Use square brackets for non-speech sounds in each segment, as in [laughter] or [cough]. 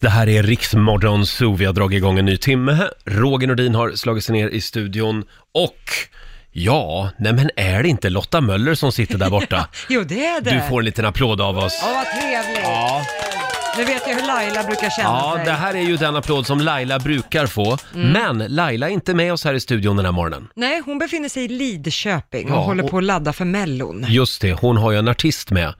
Det här är Riksmorgon Zoo. Vi har dragit igång en ny timme. Roger Nordin har slagit sig ner i studion och ja, nej men är det inte Lotta Möller som sitter där borta? Jo, det är det. Du får en liten applåd av oss. Ja, vad trevligt. Ja, Nu vet jag hur Laila brukar känna ja sig. det här är ju den applåd som Laila brukar få. Men Laila är inte med oss här i studion den här morgonen. Nej, hon befinner sig i Lidköping och Ja, håller och- på att ladda för Mellon. Just det, hon har ju en artist med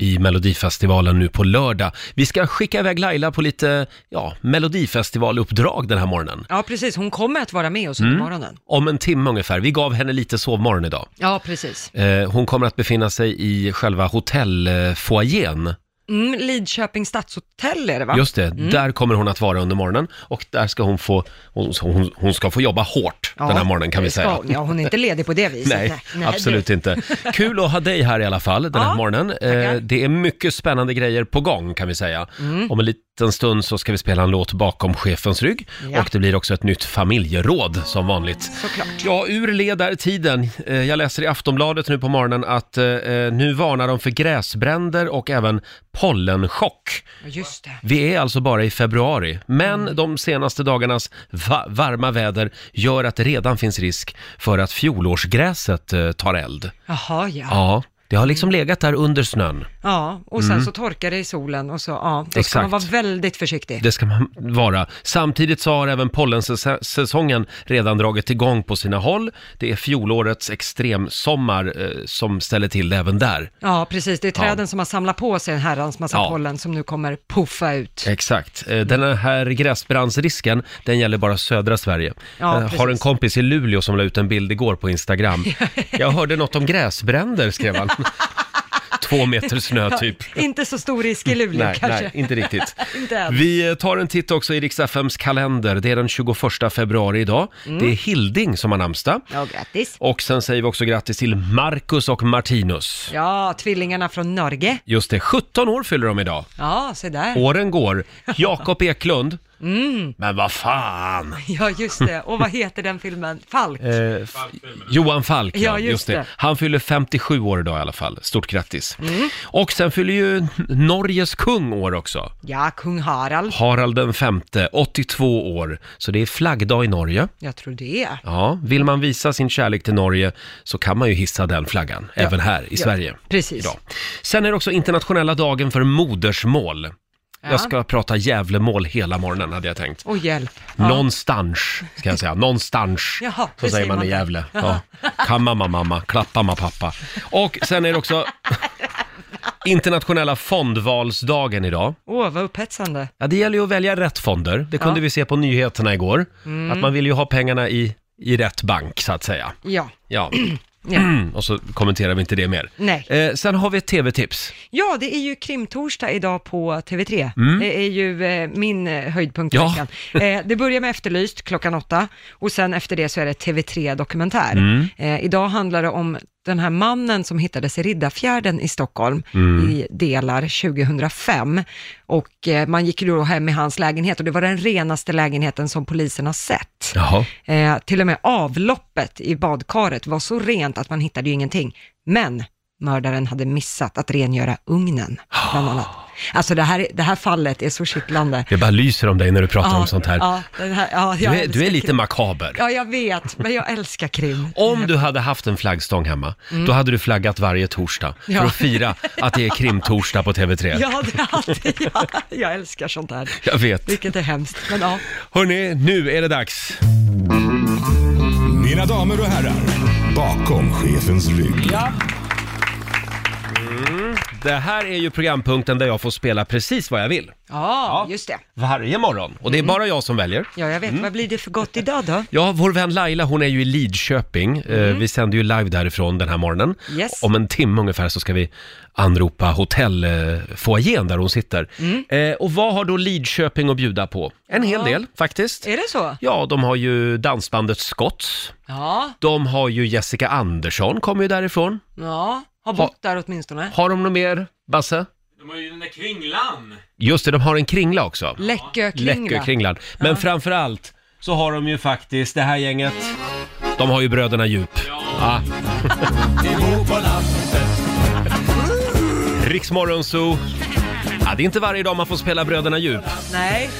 i Melodifestivalen nu på lördag. Vi ska skicka iväg Laila på lite, ja, Melodifestivaluppdrag den här morgonen. Ja, precis. Hon kommer att vara med oss under Mm. morgonen. Om en timme ungefär. Vi gav henne lite sovmorgon idag. Ja, precis. Eh, Hon kommer att befinna sig i själva hotellfoajén. Mm, Lidköping stadshotell är det va? Just det, där kommer hon att vara under morgonen och där ska hon få, hon, hon, hon ska få jobba hårt Ja, den här morgonen kan vi det ska säga. hon. Ja, hon är inte ledig på det viset. Nej, absolut inte. Kul att ha dig här i alla fall den här Ja, morgonen. Eh, tackar. Mm. det är mycket spännande grejer på gång kan vi säga. Om en liten stund så ska vi spela en låt bakom chefens rygg Ja. och det blir också ett nytt familjeråd som vanligt. Såklart. Ja, ur ledartiden. Eh, Jag läser i Aftonbladet nu på morgonen att eh, eh, nu varnar de för gräsbränder och även pollenchock. Ja, Just det. Vi är alltså bara i februari, men de senaste dagarnas va- varma väder gör att det redan finns risk för att fjolårsgräset eh, tar eld. Jaha, ja. Ja, det har liksom legat där under snön. Ja, och sen så torkar det i solen och så, ja, då ska Mm. Exakt. man vara väldigt försiktig. Det ska man vara. Samtidigt så har även pollensäsongen redan dragit igång på sina håll. Det är fjolårets extremsommar eh, som ställer till det även där. Ja, precis. Det är träden som har samlat på sig en herrans massa Ja. pollen som nu kommer puffa ut. Exakt. Eh, Den här gräsbrandsrisken, den gäller bara södra Sverige. Ja, jag har en precis. kompis i Luleå som la ut en bild igår på [laughs] Instagram. Jag hörde något om gräsbränder, skrev han. Två meter snö typ. Ja, inte så stor risk i Luleå Nej, kanske. nej, inte riktigt. [laughs] Inte än. Vi eh, tar en titt också i Rix FMs kalender. Det är den 21 februari idag. Mm. Det är Hilding som har namnsdag. Ja, grattis. Och sen säger vi också grattis till Marcus och Martinus. Ja, tvillingarna från Norge. Just det, 17 år fyller de idag. Ja, se där. Åren går. Jakob Eklund. Mm. Men vad fan! Ja, just det. Och vad heter den filmen? Falk. Eh, f- Johan Falk, ja, Ja, just, just det. det. Han fyller 57 år idag i alla fall. Stort grattis. Och sen fyller ju Norges kung år också. Ja, kung Harald. Harald den femte, 82 år. Så det är flaggdag i Norge. Jag tror det. Ja, vill man visa sin kärlek till Norge så kan man ju hissa den flaggan, även här i Sverige. Precis. Idag. Sen är det också internationella dagen för modersmål. Ja. Jag ska prata Gävlemål hela morgonen hade jag tänkt. Och hjälp. Någonstans, ska jag säga. Någonstans. [laughs] Jaha, så säger det säger man i man där. Gävle. Ja. Kamma mamma, mamma, klappa mamma, pappa. Och sen är det [laughs] också internationella fondvalsdagen idag. Åh, vad upphetsande. Ja, det gäller ju att välja rätt fonder. Det kunde Ja. Mm. vi se på nyheterna igår. Att man vill ju ha pengarna i, i rätt bank, så att säga. Ja. Ja, [clears throat] Ja. [clears throat] och så kommenterar vi inte det mer. Nej. Eh, sen har vi ett tv-tips. ja, det är ju krimtorsdag idag på TV3. Det är ju eh, min eh, höjdpunkt i Mm. Ja. veckan. Eh, det börjar med Efterlyst klockan åtta och sen efter det så är det TV3 Dokumentär. Mm. Eh, idag handlar det om den här mannen som hittades i Riddarfjärden i Stockholm Mm. i delar 2005. Och eh, man gick ju då hem i hans lägenhet och det var den renaste lägenheten som polisen har sett. Jaha. Eh, till och med avloppet i badkaret var så rent att man hittade ju ingenting. Men mördaren hade missat att rengöra ugnen, Ah. bland annat. Alltså det här, det här fallet är så kittlande. Det bara lyser om dig när du pratar om sånt här. Ja, den här ja, Du jag är, du är älskar lite krim. makaber. Ja, jag vet, men jag [laughs] älskar krim. Om du hade haft en flaggstång hemma, då hade du flaggat varje torsdag för Ja. att fira att det är krimtorsdag på TV3. Ja, det är alltid, [laughs] ja, jag älskar sånt här. Jag vet. Vilket är hemskt, men ja. Hörni, nu är det dags. Mina damer och herrar, bakom chefens rygg. Mm. Det här är ju programpunkten där jag får spela precis vad jag vill. ja, just det. Varje morgon. Och det är Mm. bara jag som väljer. Ja, jag vet. Vad blir det för gott idag då? Ja, vår vän Laila, hon är ju i Lidköping. Eh, Vi sänder ju live därifrån den här morgonen. Yes. Om en timme ungefär så ska vi anropa hotellfoajén där hon sitter. Eh, Och vad har då Lidköping att bjuda på? En hel del faktiskt. Är det så? Ja, de har ju dansbandet Scotts. Ja, De har ju Jessica Andersson, kommer ju därifrån. ja. Har bott där åtminstone. Har de något mer, Basse? De har ju den där kringlan! Just det, de har en kringla också. Läckökringla. Läckökringlan. Men framför allt så har de ju faktiskt det här gänget. De har ju Bröderna Djup. Ja. [laughs] Riksmorgon Zoo. Ja, det är inte varje dag man får spela Bröderna Djup. Nej.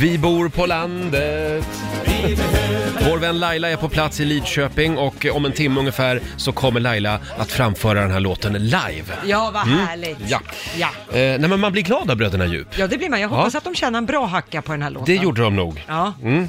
Vi bor på landet. Vår vän Laila är på plats i Lidköping och om en timme ungefär så kommer Laila att framföra den här låten live. Ja, vad härligt. Mm. Ja. ja. Eh, nej, men man blir glad av Bröderna Djup. Ja, det blir man. Jag hoppas att de känner en bra hacka på den här låten. Det gjorde de nog. Ja. Mm.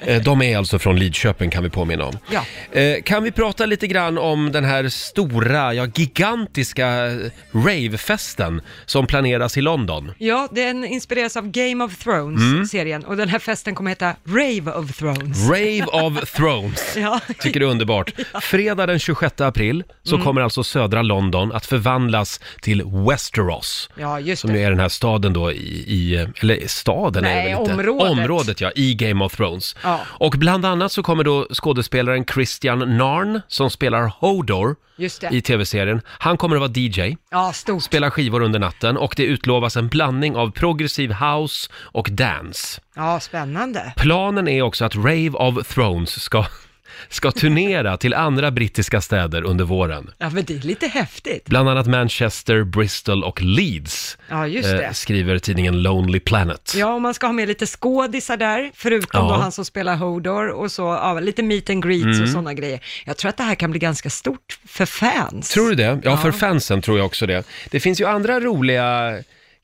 Eh, de är alltså från Lidköping kan vi påminna om. Ja. Eh, kan vi prata lite grann om den här stora, ja gigantiska eh, ravefesten som planeras i London? Ja, den inspireras av Game of Mm. Thrones-serien och den här festen kommer heta Rave of Thrones. Rave of Thrones. Ja. Tycker det är underbart. Fredag den 26 april så kommer alltså södra London att förvandlas till Westeros. Ja, just Som ju det. är den här staden då i, i eller staden är Nej, det väl inte? området. Området ja, i Game of Thrones. Ja. Och bland annat så kommer då skådespelaren Christian Narn som spelar Hodor Just det. i tv-serien. Han kommer att vara DJ, Ja, stort. spela skivor under natten och det utlovas en blandning av progressiv house och dance. Ja, spännande. Planen är också att Rave of Thrones ska, [laughs] ska turnera till andra brittiska städer under våren. Ja, men det är lite häftigt. Bland annat Manchester, Bristol och Leeds, eh, Ja, just det. skriver tidningen Lonely Planet. Ja, och man ska ha med lite skådisar där, förutom Ja. då han som spelar Hodor och så, ja, lite meet and greets Mm. och sådana grejer. Jag tror att det här kan bli ganska stort för fans. Tror du det? Ja, för fansen tror jag också det. Det finns ju andra roliga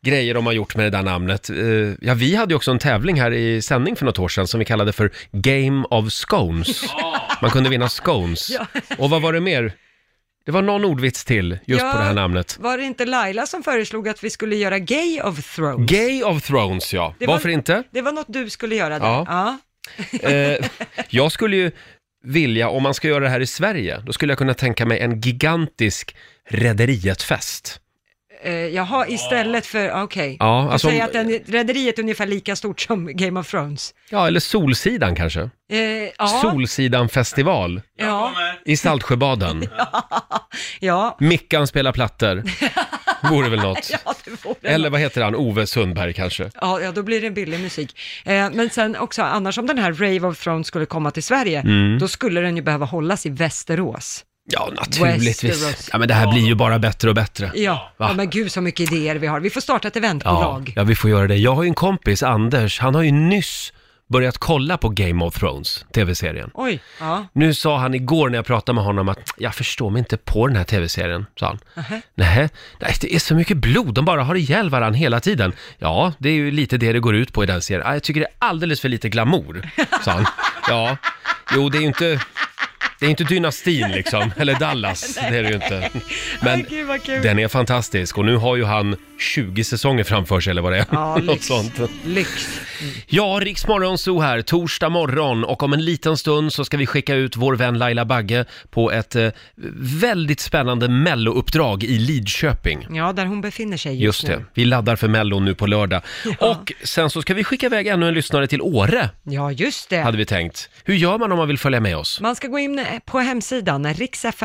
grejer de har gjort med det där namnet. Eh, Ja, vi hade ju också en tävling här i sändning för något år sedan som vi kallade för Game of [laughs] Scones. Man kunde vinna scones. Och vad var det mer? Det var någon ordvits till just på det här namnet. Var det inte Laila som föreslog att vi skulle göra Gay of Thrones? Gay of Thrones, ja. Det var- Varför inte? det var något du skulle göra där. Ja. [laughs] ja. Eh, jag skulle ju vilja, om man ska göra det här i Sverige, då skulle jag kunna tänka mig en gigantisk Rederiet-fest. Eh, jaha, istället för, ah, okej. Ja, Du alltså om- säger att den, rederiet är ungefär lika stort som Game of Thrones. Ja, eller Solsidan kanske. Eh, ja, Solsidan-festival ja, i [laughs] Saltsjöbaden. ja, [laughs] Mickan spelar plattor. Vore väl något. ja, det vore Eller vad heter han? Ove Sundberg kanske. Ja, ja, då blir det billig musik. Eh, men sen också, annars om den här Rave of Thrones skulle komma till Sverige, Mm. då skulle den ju behöva hållas i Västerås. Ja, Westeros. naturligtvis. Ja, men det här blir ju bara bättre och bättre. Ja, Va? ja men gud så mycket idéer vi har. Vi får starta ett Ja, eventbolag. ja, vi får göra det. Jag har ju en kompis, Anders, han har ju nyss börjat kolla på Game of Thrones, tv-serien. Oj, ja. Nu sa han igår när jag pratade med honom att jag förstår mig inte på den här tv-serien, sa han. Nej, nej, det är så mycket blod, de bara har ihjäl varandra hela tiden. Ja, det är ju lite det det går ut på i den serien. "Ah, Jag tycker det är alldeles för lite glamour, sa han. Ja, jo det är ju inte... Det är inte dynastin liksom, eller [laughs] Dallas, det är det ju inte. Men Åh, gud, vad kul. den är fantastisk och nu har ju han 20 säsonger framför sig eller vad det är. [laughs] Ja, Något lyx. sånt. lyx. Ja, Riksmorgon så här, torsdag morgon och om en liten stund så ska vi skicka ut vår vän Laila Bagge på ett eh, väldigt spännande mellouppdrag i Lidköping. Ja, där hon befinner sig just, Just det, nu. vi laddar för mellon nu på lördag. Och sen så ska vi skicka iväg ännu en lyssnare till Åre, Ja, just det. hade vi tänkt. Hur gör man om man vill följa med oss? Man ska gå in eh, på hemsidan,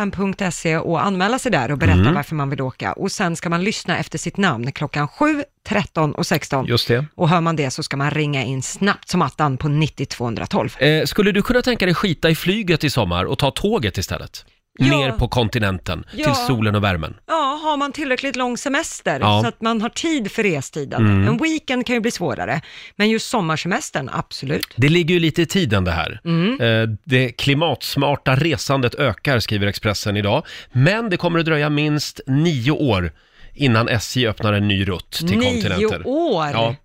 riksfm.se och anmäla sig där och berätta Mm. varför man vill åka. Och sen ska man lyssna efter sitt namn klockan 7, 13 och 16. Just det. Och hör man det så ska man ringa in snabbt som attan på 90212. Eh, skulle du kunna tänka dig skita i flyget i sommar och ta tåget istället? Ja. Ner på kontinenten, Ja. till solen och värmen. Ja, har man tillräckligt lång semester Ja. Mm. så att man har tid för restiden. En weekend kan ju bli svårare, men just sommarsemestern, absolut. Det ligger ju lite i tiden det här. Mm. Eh, Det klimatsmarta resandet ökar, skriver Expressen idag. Men det kommer att dröja minst nio år innan SJ öppnar en ny rutt till kontinenter. Nio år! Ja.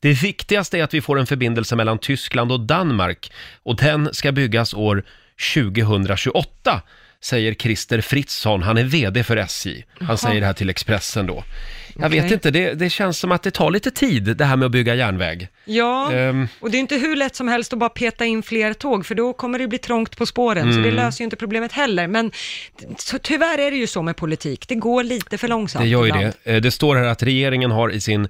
Det viktigaste är att vi får en förbindelse mellan Tyskland och Danmark och den ska byggas år 2028, säger Christer Fritzson. Han är VD för SJ. Han säger det här till Expressen då. Jag vet Okej. inte, det, det känns som att det tar lite tid det här med att bygga järnväg. Ja, Ehm. och det är inte hur lätt som helst att bara peta in fler tåg, för då kommer det bli trångt på spåren, så Mm. det löser ju inte problemet heller. Men t- så, tyvärr är det ju så med politik, det går lite för långsamt. Det gör ju ibland. det. Eh, Det står här att regeringen har i sin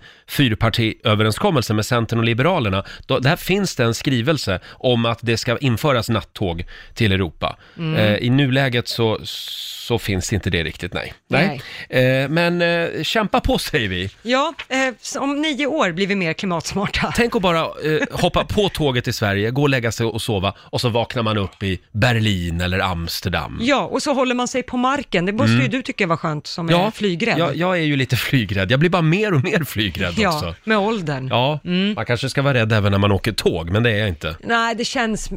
fyrpartiöverenskommelse med Centern och Liberalerna, då, där finns det en skrivelse om att det ska införas nattåg till Europa. Mm. Eh, I nuläget så, så finns inte det riktigt, nej. nej. Eh, men eh, kämpa på på säger vi. Ja, eh, så om nio år blir vi mer klimatsmarta. Tänk att bara eh, hoppa på tåget i Sverige, gå och lägga sig och sova och så vaknar man upp i Berlin eller Amsterdam. Ja, och så håller man sig på marken. Det måste ju du tycka var skönt som är flygrädd. Mm. Jag, jag är ju lite flygrädd. Jag blir bara mer och mer flygrädd också. ja med åldern. Ja, Mm. man kanske ska vara rädd även när man åker tåg, men det är jag inte. Nej, det känns,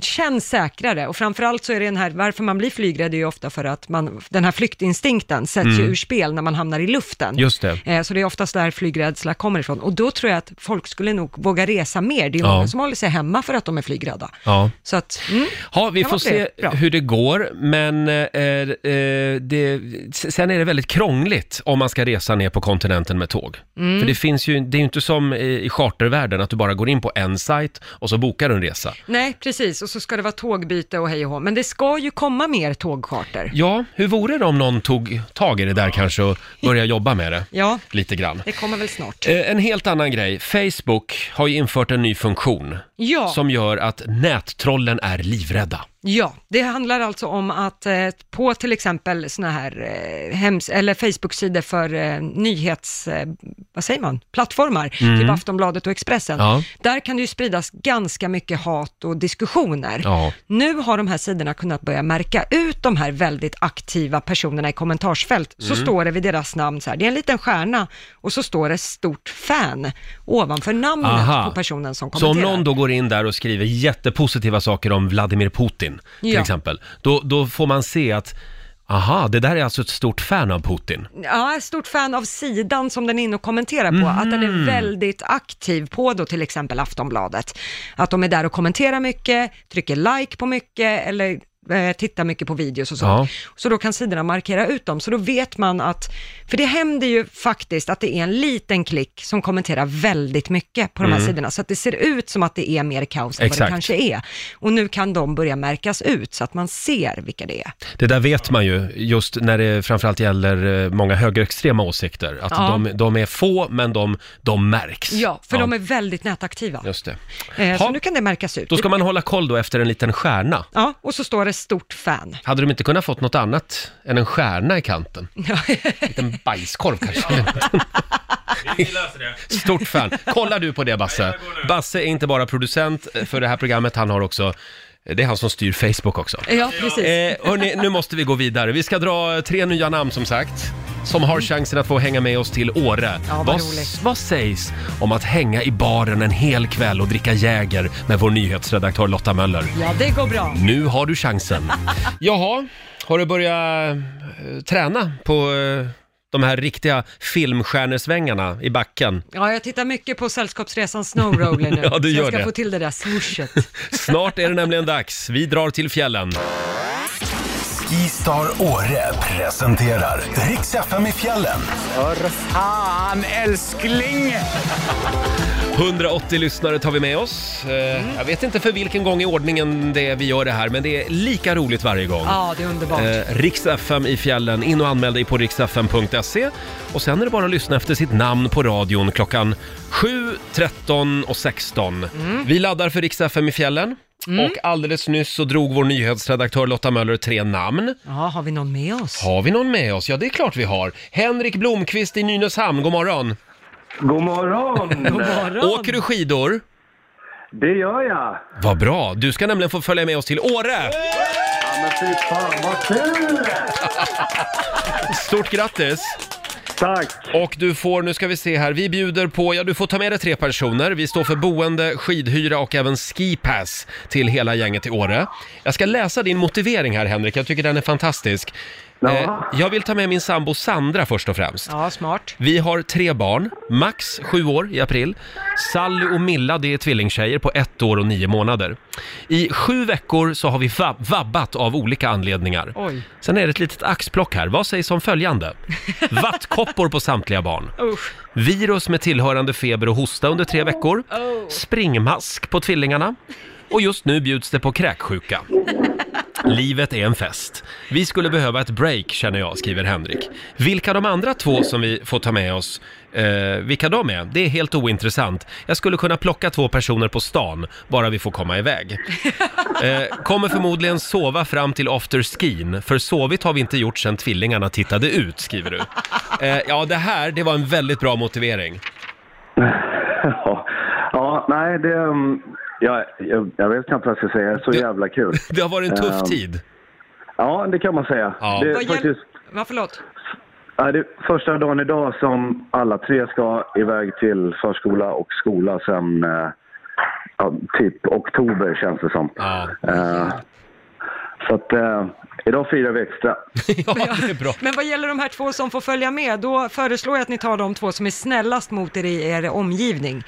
känns säkrare och framförallt så är det den här, varför man blir flygrädd är ju ofta för att man, den här flyktinstinkten sätts ju ur spel när man hamnar i luften. Mm. Just det. Eh, Så det är oftast där flygrädsla kommer ifrån och då tror jag att folk skulle nog våga resa mer. Det är ju Ja. många som håller sig hemma för att de är flygrädda. Ja. Så att, mm. Ja, vi Ja, får det se är bra. hur det går, men eh, eh, det, s- sen är det väldigt krångligt om man ska resa ner på kontinenten med tåg. Mm. För det finns ju, det är ju inte som i i chartervärlden att du bara går in på en sajt och så bokar du en resa. Nej, precis, och så ska det vara tågbyte och hej och hå. Men det ska ju komma mer tågcharter. Ja, hur vore det om någon tog tag i det där kanske och började jobba med det Ja, lite grann? det kommer väl snart. Eh, En helt annan grej. Facebook har ju infört en ny funktion Ja. som gör att nättrollen är livrädda. Ja, det handlar alltså om att eh, på till exempel såna här eh, hems- eller Facebook-sidor för eh, nyhets... Eh, vad säger man? Plattformar, typ Aftonbladet och Expressen. Mm. Ja. Där kan det ju spridas ganska mycket hat och diskussioner. Ja. Nu har de här sidorna kunnat börja märka ut de här väldigt aktiva personerna i kommentarsfält. Så Mm. står det vid deras namn så här, det är en liten stjärna och så står det stort fan ovanför namnet Aha. på personen som Så om kommenterar. någon då går in där och skriver jättepositiva saker om Vladimir Putin, till Ja. exempel, då, då får man se att Aha, det där är alltså ett stort fan av Putin. Ja, stort fan av sidan som den är inne och kommenterar på, att den Mhm. är väldigt aktiv på då till exempel Aftonbladet. Att de är där och kommenterar mycket, trycker like på mycket eller eh, tittar mycket på videos och så. Ja. Så då kan sidorna markera ut dem, så då vet man att, för det händer ju faktiskt att det är en liten klick som kommenterar väldigt mycket på de här sidorna, så att det ser ut som att det är mer kaos än Mm. vad Exakt. det kanske är. Och nu kan de börja märkas ut så att man ser vilka det är. Det där vet man ju, just när det framförallt gäller eh, många högerextrema åsikter. Att Ja. de, de är få, men de, de märks. Ja, för de är väldigt nätaktiva. Just det. Eh, Ha. så nu kan det märkas ut. Då ska man hålla koll då efter en liten stjärna. Ja, och så står det stort fan. Hade de inte kunnat fått något annat än en stjärna i kanten? En liten bajskorv kanske? Vi löser det. Stort fan. Kollar du på det Basse? jag går nu. Basse är inte bara producent för det här programmet, han har också, det är han som styr Facebook också. [laughs] Ja, precis. Eh, hörni, nu måste vi gå vidare. Vi ska dra tre nya namn som sagt, som har chansen att få hänga med oss till Åre. Ja, vad vad, roligt. vad sägs om att hänga i baren en hel kväll och dricka Jäger med vår nyhetsredaktör Lotta Möller? Ja, det går bra. Nu har du chansen. [laughs] Jaha, har du börjat eh, träna på eh, de här riktiga filmstjärnesvängarna i backen? Ja, jag tittar mycket på Sällskapsresan Snowroller nu. [laughs] Ja, du Så gör jag ska det. få till det där swooshet. Snart är det nämligen dags. Vi drar till fjällen. Skistar Åre presenterar Riks FM i fjällen. För fan älskling! 180 lyssnare tar vi med oss. Eh, Jag vet inte för vilken gång i ordningen det är vi gör det här, men det är lika roligt varje gång. Ja, det är underbart. Eh, Rix FM i fjällen. In och anmäl dig på riksfm.se. Och sen är det bara att lyssna efter sitt namn på radion klockan 7, 13 och 16. Vi laddar för Rix FM i fjällen. Och alldeles nyss så drog vår nyhetsredaktör Lotta Möller tre namn. Ja, har vi någon med oss? Har vi någon med oss? Ja, det är klart vi har. Henrik Blomqvist i Nynäshamn, god morgon. God morgon! God morgon. Åker du skidor? Det gör jag! Vad bra! Du ska nämligen få följa med oss till Åre! Ja, men fy fan vad kul! Stort grattis! Tack! Och du får, nu ska vi se här, vi bjuder på, ja du får ta med dig tre personer. Vi står för boende, skidhyra och även skipass till hela gänget i Åre. Jag ska läsa din motivering här Henrik, jag tycker den är fantastisk. Eh, Ja. jag vill ta med min sambo Sandra först och främst. Ja, smart. Vi har tre barn, Max sju år i april, Sally och Milla det är tvillingtjejer på ett år och nio månader. I sju veckor så har vi vab- vabbat av olika anledningar. Oj. Sen är det ett litet axplock här, vad sägs om följande? Vattkoppor på samtliga barn. Usch. Virus med tillhörande feber och hosta under tre veckor. Springmask på tvillingarna. Och just nu bjuds det på kräksjuka. Livet är en fest. Vi skulle behöva ett break känner jag, skriver Henrik. Vilka de andra två som vi får ta med oss, eh, vilka de är, det är helt ointressant. Jag skulle kunna plocka två personer på stan, bara vi får komma iväg. Eh, kommer förmodligen sova fram till afterskin, för sovit har vi inte gjort sedan tvillingarna tittade ut, skriver du. Eh, ja, det här, det var en väldigt bra motivering. Ja, ja nej, det... mm, Ja, jag, jag vet knappt vad jag ska säga. Det är så Du- jävla kul. Det har varit en tuff Ehm. tid. Ja, det kan man säga. Ja. Det Vad är hjäl- faktiskt Ja, förlåt. ja, det är första dagen idag som alla tre ska iväg till förskola och skola sen eh, ja, typ oktober känns det som. Ja. Eh, så att eh, idag firar vi extra. [laughs] ja, det är bra. Men vad gäller de här två som får följa med, då föreslår jag att ni tar de två som är snällast mot er i er omgivning.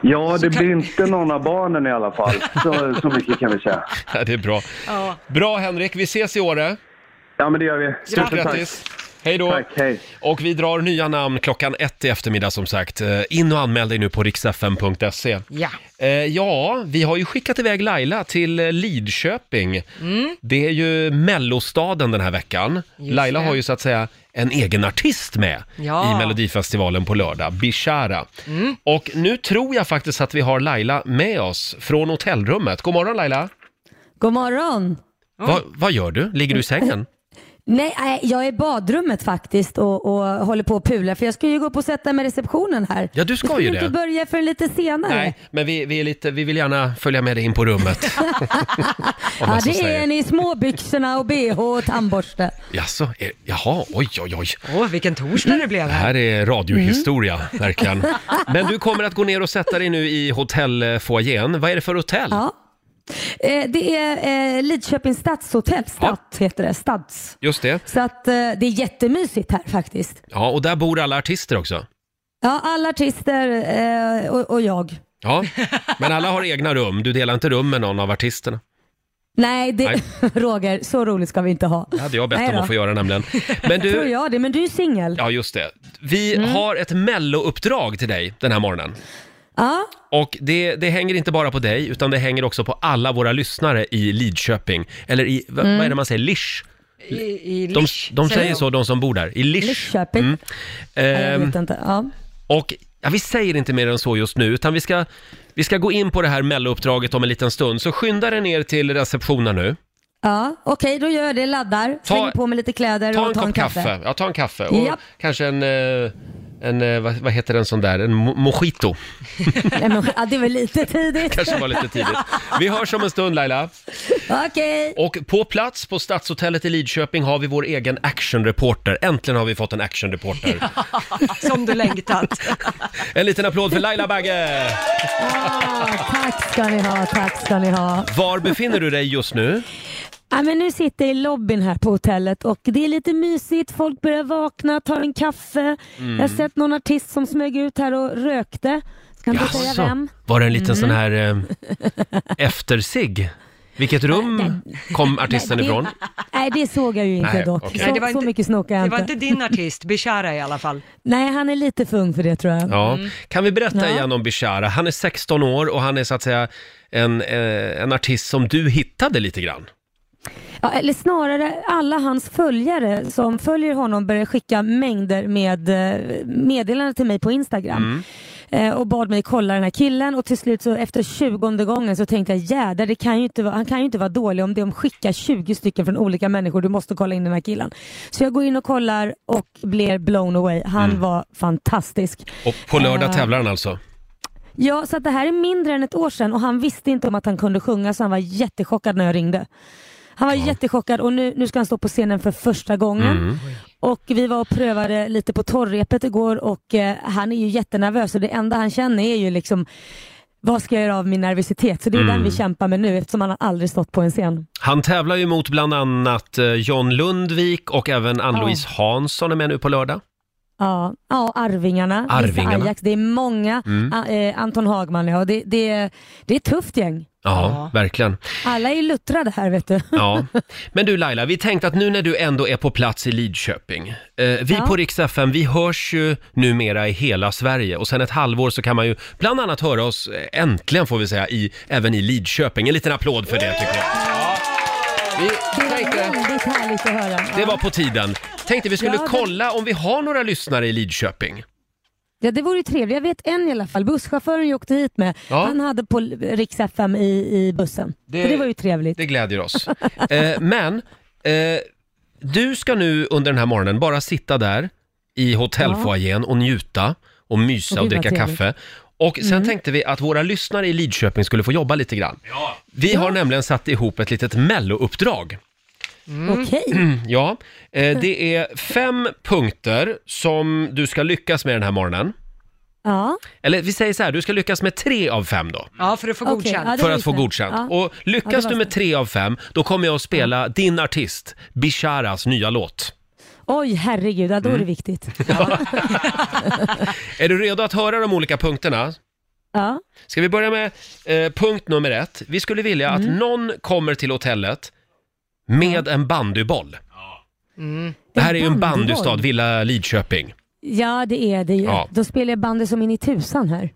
Ja, det kan- blir inte någon av barnen i alla fall. Så, så mycket kan vi säga. Ja, det är bra. Ja. Bra Henrik, vi ses i Åre. Ja, men det gör vi. Stort Tusen grattis! Hej då! Tack, hej. Och vi drar nya namn klockan ett i eftermiddag som sagt. Eh, In och anmäl dig nu på riksfm.se. Ja. Eh, ja, vi har ju skickat iväg Laila till eh, Lidköping. Det är ju mellostaden den här veckan. Just Laila det. har ju så att säga en egen artist med Ja. i Melodifestivalen på lördag, Bishara. Och nu tror jag faktiskt att vi har Laila med oss från hotellrummet. God morgon Laila! God morgon! Va, vad gör du? Ligger du i sängen? Nej, nej, jag är i badrummet faktiskt och, och håller på och pular för jag ska ju gå upp och sätta mig i receptionen här. Ja, du ska ju Jag det. inte börja förrän lite senare. Nej, men vi, vi, är lite, vi vill gärna följa med dig in på rummet. Om man ja, så det säger. är en i småbyxorna och bh och tandborste. Jaså, är, jaha, oj, oj, oj. Åh, vilken torsdag det blev Det här. här är radiohistoria, Mhm. [laughs] verkligen. Men du kommer att gå ner och sätta dig nu i hotellfoajén. Vad är det för hotell? Ja. Eh, det är eh, Lidköpings stadshotell, Stadt heter det, Stads. Just det. Så att eh, det är jättemysigt här faktiskt. Ja, och där bor alla artister också. Ja, alla artister eh, och, och jag. Ja, men alla har egna rum. Du delar inte rum med någon av artisterna. Nej, det, Nej. [laughs] Roger, så roligt ska vi inte ha. Det hade jag bett Nej om då. att få göra nämligen. Men Tror du, [laughs] jag Mm. det, men du är ju singel. ja just det. Vi har ett mellouppdrag till dig den här morgonen. ja. Och det, det hänger inte bara på dig, utan det hänger också på alla våra lyssnare i Lidköping. Eller i, vad, vad Mm. är det man säger, Lisch? I, i De, Lisch, de säger så, de som bor där. I Lisch. Mm. Lidköping. Nej, jag Ehm, vet inte. Ja. och ja, vi säger inte mer än så just nu, utan vi ska, vi ska gå in på det här mellouppdraget om en liten stund. Så skynda dig ner till receptionen nu. Ja, okej, då gör jag det. Laddar, Ta- slänger på mig lite kläder Ta och en tar kopp en kaffe. kaffe. Ja, ta en kaffe. Och Japp. kanske en, eh, en eh, vad, vad heter den sån där, en mo- mojito. [laughs] [laughs] Nej, men, ja, det var lite tidigt. Kanske var lite tidigt. Vi hörs om en stund Laila. Okej. Och på plats på Stadshotellet i Lidköping har vi vår egen actionreporter. Äntligen har vi fått en actionreporter. Som du längtat. [laughs] En liten applåd för Laila Bagge! Ah, tack ska ni ha, tack ska ni ha. Var befinner du dig just nu? Ja, men nu sitter jag i lobbyn här på hotellet och det är lite mysigt. Folk börjar vakna, tar en kaffe. Mm. Jag har sett någon artist som smög ut här och rökte. Ska inte säga vem. alltså, var det en liten Mm. sån här eh, eftersigg? Vilket rum kom artisten det, ifrån? Nej, det såg jag ju inte Nej, dock. okej. Så, Nej, det var så inte- mycket snokar jag Det var inte. inte din artist, Bishara i alla fall. Nej, han är lite för ung för det tror jag. Ja. Kan vi berätta Mm. Ja. igen om Bishara? Han är 16 år och han är så att säga en, eh, en artist som du hittade lite grann. Ja, eller snarare alla hans följare som följer honom började skicka mängder med eh, meddelanden till mig på Instagram. Eh, och bad mig kolla den här killen och till slut så efter 20 gången så tänkte jag jädrar, det kan ju inte vara, han kan ju inte vara dålig om de skickar 20 stycken från olika människor, du måste kolla in den här killen. Så jag går in och kollar och blir blown away. Han var fantastisk. Och på lördag Eh. tävlar han alltså. Ja, så att det här är mindre än ett år sedan och han visste inte om att han kunde sjunga så han var jättechockad när jag ringde. Han var jättechockad och nu, nu ska han stå på scenen för första gången. Och vi var och prövade lite på torrepet igår och eh, han är ju jättenervös och det enda han känner är ju liksom vad ska jag göra av min nervositet? Så det är den vi kämpar med nu eftersom han har aldrig stått på en scen. Han tävlar ju mot bland annat eh, John Lundvik och även Ann-Louise Hansson är med nu på lördag. Ja, ja Arvingarna, Lisa Arvingarna. Ajax, det är många. A- eh, Anton Hagman, ja. Det, det, det är ett tufft gäng. ja. verkligen. Alla är ju luttrade här vet du. [laughs] Ja. Men du Laila, vi tänkte att nu när du ändå är på plats i Lidköping. Eh, vi Ja. på Rix FM, vi hörs ju numera i hela Sverige och sen ett halvår så kan man ju bland annat höra oss, eh, äntligen får vi säga, i, även i Lidköping. En liten applåd för det tycker jag. Vi Det var tänkte, väldigt härligt att höra. det Ja. var på tiden. Tänkte vi skulle Ja, det- kolla om vi har några lyssnare i Lidköping. Ja, det vore ju trevligt. Jag vet en i alla fall. Busschauffören jag åkte hit med, Ja. han hade på Rix FM i, i bussen. Det- Det, det var ju trevligt. Det glädjer oss. Eh, men, eh, du ska nu under den här morgonen bara sitta där i hotellfoajén och njuta och mysa Åh, och gud, vad dricka trevligt. Mm. kaffe. Och sen tänkte vi att våra lyssnare i Lidköping skulle få jobba lite grann. Ja. Vi har nämligen satt ihop ett litet mellouppdrag. Mm. Okej. [clears throat] Ja, eh, det är fem punkter som du ska lyckas med den här morgonen. Ja. Eller vi säger så här, du ska lyckas med tre av fem då. Ja, för att få Okej, godkänt. ja, det för var att ju få snällt. godkänt. Ja. Och Ja, lyckas det var du med snällt. tre av fem, då kommer jag att spela din artist, Bisharas nya låt. Oj, herregud. Ja, då Mm. är det viktigt. Är du redo att höra de olika punkterna? Ja. Ska vi börja med eh, punkt nummer ett? Vi skulle vilja Mm. att någon kommer till hotellet med en bandyboll. Mm. Det här är ju en bandystad, Villa Lidköping. Ja, det är det ju. Ja. Då spelar jag bandy som in i tusan här.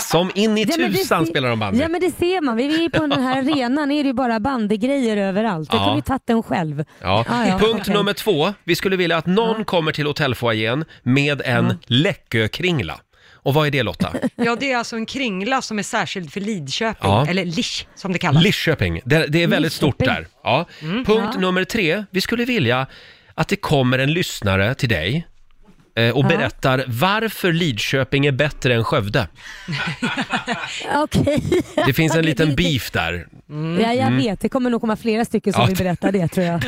Som in i Ja, men det tusan ser- spelar de bandy. Ja, men det ser man. Vi är ju på [laughs] den här arenan är det ju bara bandygrejer överallt. Jag Ja. kunde ju tagit den själv. Ja. Ah, ja, Punkt okej. nummer två. Vi skulle vilja att någon kommer till hotellfoajén med en läckökringla. Och vad är det Lotta? Ja, det är alltså en kringla som är särskild för Lidköping, Ja. eller Lish som det kallas. Lidköping. Det, det är väldigt stort Lidköping. där. Ja. Punkt Mm. Ja. nummer tre. Vi skulle vilja att det kommer en lyssnare till dig eh, och berättar varför Lidköping är bättre än Skövde. Okej. Det finns en [laughs] Okej, liten det- det- beef där. Ja, jag vet. Det kommer nog komma flera stycken som Mm. Ja. vill berätta det tror [laughs] jag.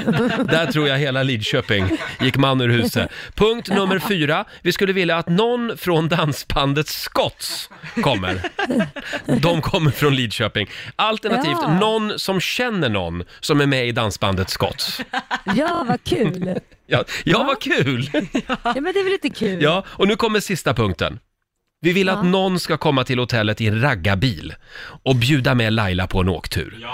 Där tror jag hela Lidköping gick man ur huset. Punkt nummer fyra. Vi skulle vilja att någon från dansbandet Scotts kommer. De kommer från Lidköping. Alternativt Ja. någon som känner någon som är med i dansbandet Scotts. Ja, vad kul. Ja, ja vad kul! Ja, men det är väl lite kul? Ja, och nu kommer sista punkten. Vi vill att någon ska komma till hotellet i en raggarbil och bjuda med Laila på en åktur. Det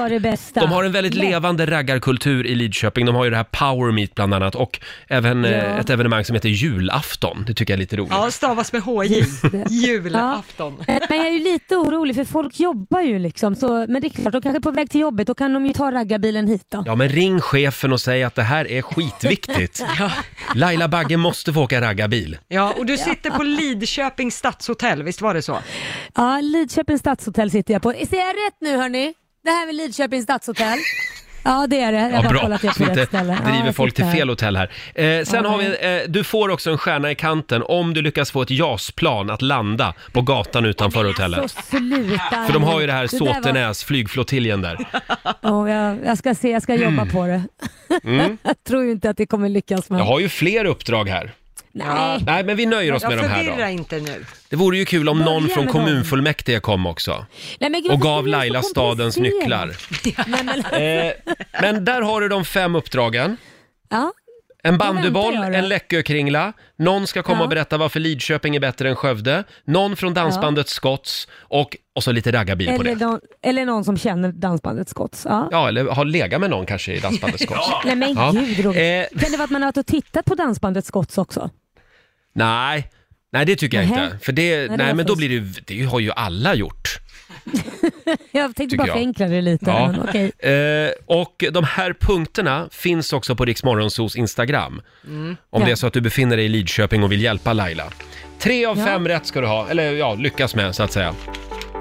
var det bästa. De har en väldigt Men- levande raggarkultur i Lidköping. De har ju det här Power Meet bland annat och även eh, Ja. ett evenemang som heter julafton. Det tycker jag är lite roligt. Ja, stavas med HJ. Julafton. Men jag är ju lite orolig för folk jobbar ju liksom. Så, men det är klart, de kanske är på väg till jobbet. Då kan de ju ta raggarbilen hit då. Ja, men ring chefen och säg att det här är skitviktigt. Laila Bagge måste få åka raggarbil. Ja, och du sitter på Lidköpings stadshotell, visst var det så? Ja, Lidköpings stadshotell sitter jag på. Ser jag rätt nu hörni? Det här är Lidköpings stadshotell? Ja, det är det. Jag Ja, har bra, kollat det så på inte rätt ställe. Ja, driver jag folk till sitter här. fel hotell här. Eh, sen Ja. har vi, eh, du får också en stjärna i kanten om du lyckas få ett JAS-plan att landa på gatan utanför hotellet. Så sluta För de har ju det här där var- Såtenäs, flygflottiljen där. Ja, jag, jag ska se, jag ska jobba Mm. på det. [laughs] jag tror ju inte att det kommer lyckas. Men... Jag har ju fler uppdrag här. Nej. Nej, men vi nöjer oss Jag med de här förvirrar då. inte nu. Det vore ju kul om Börja någon från med dem. kommunfullmäktige kom också. Nej, men gud, Och varför gav ska vi vara så Laila stadens komplicerade? nycklar. Nej, men, Eh, men där har du de fem uppdragen. ja. En bandyboll, väntar jag då. en läckökringla, någon ska komma Ja. och berätta varför Lidköping är bättre än Skövde, någon från dansbandet Scotts och, och så lite raggarbil på Eller, det. någon, eller någon som känner dansbandet Scotts. Ja. Ja, eller har legat med någon kanske i dansbandet Scotts. Nej men Ja. gud Roger. Eh. Kan det vara att man har varit och tittat på dansbandet Scotts också? Nej, nej det tycker jag Nähä. inte. För det, nej, det var men då fusk. blir det ju, det har ju alla gjort. Jag tänkte Tycker bara jag. förenkla det lite. Ja. Men, okej. Eh, och de här punkterna finns också på Riksmorgonsos Instagram. Om Ja. det är så att du befinner dig i Lidköping och vill hjälpa Laila. Tre av Ja. fem rätt ska du ha, eller ja, lyckas med så att säga.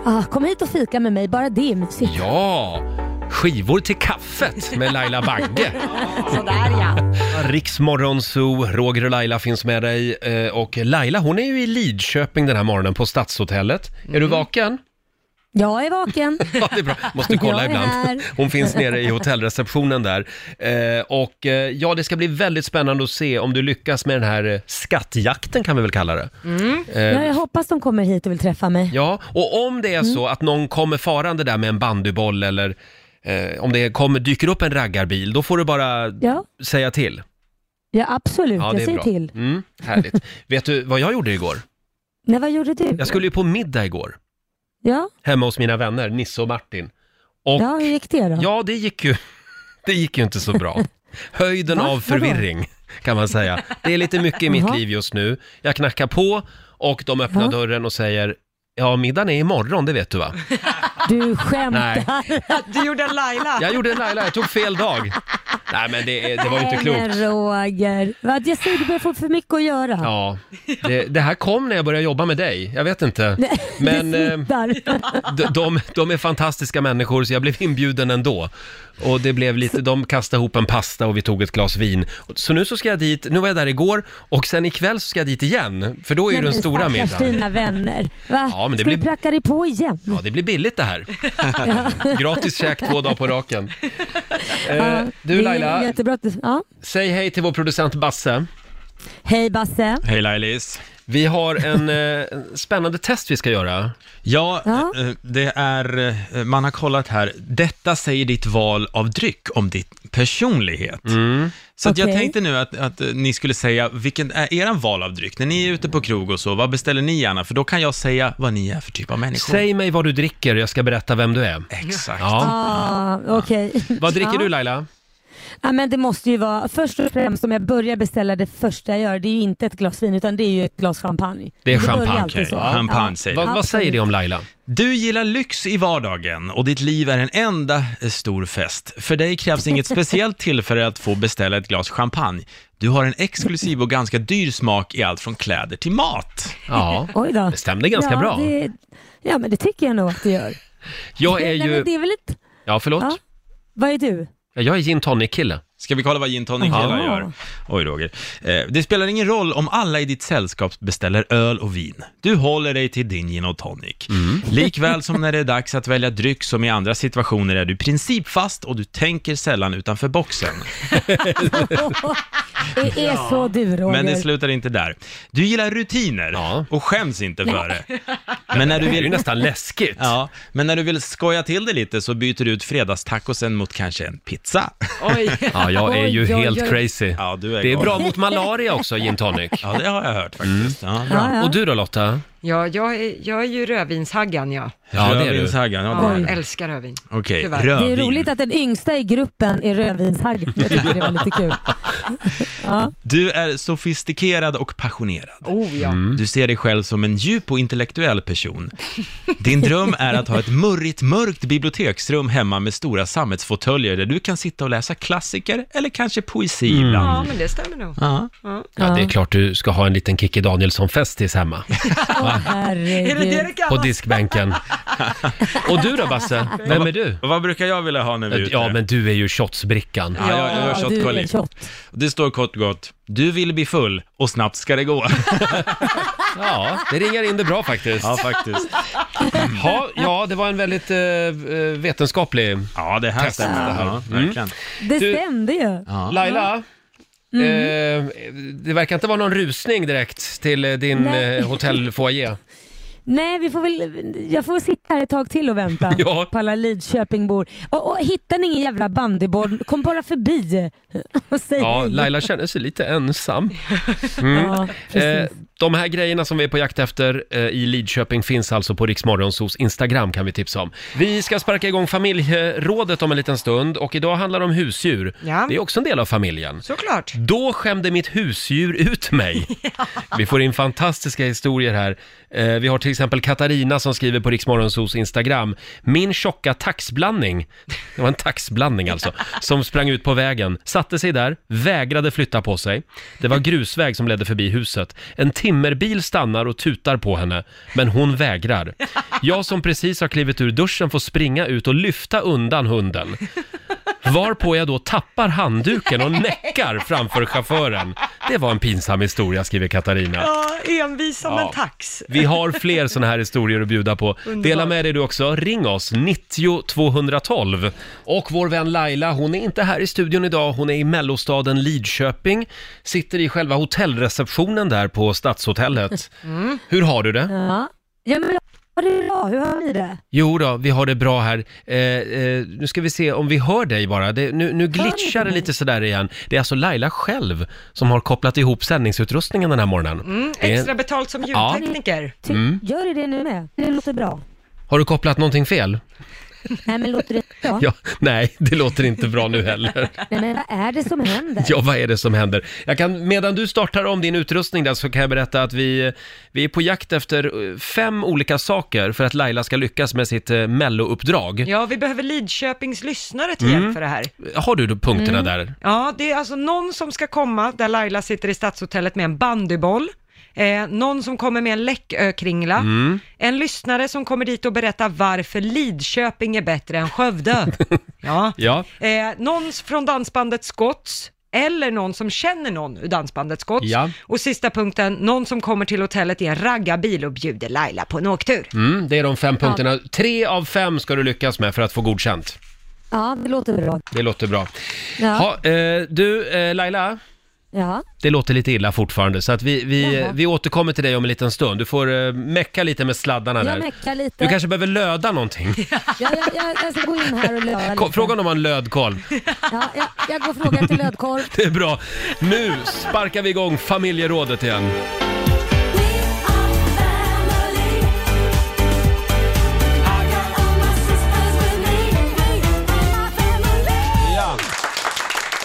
Ah, kom hit och fika med mig, bara det är mysigt. Ja, skivor till kaffet med Laila [laughs] Bagge. Sådär ja. Riksmorgonzoo, Roger och Laila finns med dig. Eh, Och Laila, hon är ju i Lidköping den här morgonen på Stadshotellet. Är du [laughs] vaken? Jag är vaken. Ja, det är bra. Måste kolla Jag är ibland. här. Hon finns nere i hotellreceptionen där. Eh, Och eh, ja, det ska bli väldigt spännande att se om du lyckas med den här eh, skattjakten kan vi väl kalla det. Mm. Eh, Ja, jag hoppas de kommer hit och vill träffa mig. Ja, och om det är så att någon kommer farande där med en bandyboll eller eh, om det kommer, dyker upp en raggarbil, då får du bara Ja, säga till. ja absolut. jag säger till. Mm, [laughs] härligt. Vet du vad jag gjorde igår? Nej, vad gjorde du? Jag skulle ju på middag igår, Ja, hemma hos mina vänner Nisse och Martin. Och ja, hur gick det då? ja, det gick ju, [laughs] det gick ju inte så bra. Höjden Va? av Vadå? förvirring kan man säga. Det är lite mycket i mitt Jaha. liv just nu. Jag knackar på och de öppnar Ja. dörren och säger Ja, middagen är imorgon, det vet du va? Du skämtar. Du gjorde en Laila. Jag gjorde en Laila, jag tog fel dag. Nej men det, är- det var ju inte Nej, klokt. Men Roger. Vad Jag säger, du börjar få för mycket att göra. Ja, det, det här kom när jag började jobba med dig. Jag vet inte. Men det eh, smittar. d- de, de är fantastiska människor så jag blev inbjuden ändå. Och det blev lite, de kastade ihop en pasta och vi tog ett glas vin. Så nu så ska jag dit, nu var jag där igår och sen ikväll så ska jag dit igen. För då är ju den stora stackars middagen. dina vänner. Va? Ja, men det Ska blir- du Eh, pracka dig på igen? Ja, det blir billigt det här. [laughs] Gratis käk två dagar på raken. Eh, Ja, det du är Laila, Jättebra. att du- Ja. säg hej till vår producent Basse. Hej Basse. Hej Lailis. Vi har en eh, spännande test vi ska göra. Ja, Ja. eh, det är, eh, man har kollat här, detta säger ditt val av dryck om din personlighet. Mm. Så att jag Okej. tänkte nu att, att eh, ni skulle säga, vilken är er val av dryck? När ni är ute på krog och så, vad beställer ni gärna? För då kan jag säga vad ni är för typ av människor. Säg mig vad du dricker och jag ska berätta vem du är. Exakt. Ja. Ah, Okej. Vad dricker ja. du Laila? Ja, men det måste ju vara, först och främst om jag börjar beställa det första jag gör, det är ju inte ett glas vin utan det är ju ett glas champagne. Det är börjar champagne, alltid okej. så. Champagne säger Vad, vad säger det om Laila? Du gillar lyx i vardagen och ditt liv är en enda eh, stor fest. För dig krävs inget speciellt tillfälle att få beställa ett glas champagne. Du har en exklusiv och ganska dyr smak i allt från kläder till mat. Ja, Oj då. det stämde ganska ja, bra. Det, ja, men det tycker jag nog att det gör. Jag är Nej, men det ju... är väl ett, Ja, förlåt? Ja. Vad är du? Jag är gin tonic-kille. Ska vi kolla vad gin tonic killar Ja. gör? Oj Roger. Eh, Det spelar ingen roll om alla i ditt sällskap beställer öl och vin. Du håller dig till din gin och tonic. Mm. [laughs] Likväl som när det är dags att välja dryck som i andra situationer är du principfast och du tänker sällan utanför boxen. Det är så du Roger. Men det slutar inte där. Du gillar rutiner Ja. och skäms inte för det. [laughs] Men när, du Det är ju [laughs] vill, nästan läskigt. ja, men när du vill skoja till det lite så byter du ut fredagstacosen mot kanske en [laughs] pizza. Oj. Ja, jag är ju Oj, oj, helt oj. crazy. Ja, du är Det är galen. bra Mm. mot malaria också, gin tonic. Ja, det har jag hört faktiskt. Ja, bra. ja, ja. Och du då Lotta? Ja, jag är, jag är ju rödvinshaggan jag. Ja, det är du. Rödvinshaggan, ja, det är Ja, du. jag älskar rödvin. Okej, Tyvärr. rödvin. det är roligt att den yngsta i gruppen är rödvinshagg. Jag tycker det var lite kul. Du är sofistikerad och passionerad. Oh ja. Mm. Du ser dig själv som en djup och intellektuell person. Din dröm är att ha ett murrigt, mörkt biblioteksrum hemma med stora sammetsfåtöljer där du kan sitta och läsa klassiker eller kanske poesi ibland. Ja, men det stämmer nog. Ja. Mm. Ja, det är klart du ska ha en liten Kikki Danielsson-festis hemma. Åh Är det det herregud. det kallas? På [laughs] diskbänken. Och du då Basse? Vem är du? Och Vad brukar jag vilja ha när vi är ute? Ja, men du är ju shotsbrickan. Ja, jag, jag har Ja, du är shotkolli. shot. Det står kort och gott, du vill bli full och snabbt ska [laughs] det gå. Ja, det ringar in det bra faktiskt. ja, faktiskt. Ja, ja det var en väldigt eh, eh, vetenskaplig Ja, det här Testa Mm. stämmer. det här. Ja, verkligen. Det Du- stämde ju. Ja. Laila, eh, det verkar inte vara någon rusning direkt till eh, din Nej. eh, hotellfoajé. Nej, vi får väl, jag får väl sitta här ett tag till och vänta [laughs] Ja. på alla Lidköpingbor. Och, och hittar ni ingen jävla bandyboll, kom bara förbi [laughs] och säg Ja, hej. Laila känner sig lite ensam. Ja, precis. Eh, de här grejerna som vi är på jakt efter eh, i Lidköping finns alltså på Riksmorgonsos Instagram kan vi tipsa om. Vi ska sparka igång familjerådet om en liten stund och idag handlar det om husdjur. Ja. Det är också en del av familjen. Såklart. Då skämde mitt husdjur ut mig. Vi får in fantastiska historier här. Eh, vi har till exempel Katarina som skriver på Riksmorgonsos Instagram. Min tjocka taxblandning, det var en taxblandning alltså, som sprang ut på vägen, satte sig där, vägrade flytta på sig. Det var grusväg som ledde förbi huset. En timmerbil stannar och tutar på henne, men hon vägrar. Jag som precis har klivit ur duschen får springa ut och lyfta undan hunden. Varpå jag då tappar handduken och näckar framför chauffören. Det var en pinsam historia, skriver Katarina. Ja, envis som Ja. en tax. Vi har fler sådana här historier att bjuda på. Dela med dig du också. Ring oss, 90 212. Och vår vän Laila, hon är inte här i studion idag. Hon är i mellostaden Lidköping. Sitter i själva hotellreceptionen där på Stadshotellet. Hur har du det? Ja. ja, men har det är bra. Hur har ni det? Jo då, vi har det bra här. Eh, eh, nu ska vi se om vi hör dig bara. Det, nu, nu glitchar det lite sådär igen. Det är alltså Laila själv som har kopplat ihop sändningsutrustningen den här morgonen. Eh, Det är- Mm, Extra betalt som ljudtekniker. Mm. Ty- Gör ni det nu med? Det låter bra. Har du kopplat någonting fel? Nej men låter det bra? Ja, nej, det låter inte bra nu heller. Nej men vad är det som händer? Ja, vad är det som händer? Jag kan, medan du startar om din utrustning där så kan jag berätta att vi, vi är på jakt efter eh, fem olika saker för att Laila ska lyckas med sitt eh, mellouppdrag. Ja, vi behöver Lidköpings lyssnare till Mm. hjälp för det här. Har du då punkterna där? Ja, det är alltså någon som ska komma där Laila sitter i Stadshotellet med en bandyboll. Eh, någon som kommer med en läckökringla. Mm. En lyssnare som kommer dit och berättar varför Lidköping är bättre [laughs] än Skövde. ja. Ja. Eh, någon från dansbandet Scotts. Eller någon som känner någon ur dansbandet Scotts. Ja. Och sista punkten, någon som kommer till hotellet i en raggarbil och bjuder Laila på en åktur. Mm, det är de fem punkterna. Tre av fem ska du lyckas med för att få godkänt. Ja, det låter bra. Det låter bra. Ja. Ha, eh, du, eh, Laila, Ja. det låter lite illa fortfarande så att vi, vi, Jaha. vi återkommer till dig om en liten stund. Du får eh, mecka lite med sladdarna Jag där. meckar lite. Du kanske behöver löda [laughs] någonting. Ja, jag, jag, jag ska gå in här och löda Ko- lite. Fråga om han lödkolv. Ja, jag, jag går och frågar till Lödkorv. Det är bra. Nu sparkar vi igång familjerådet igen.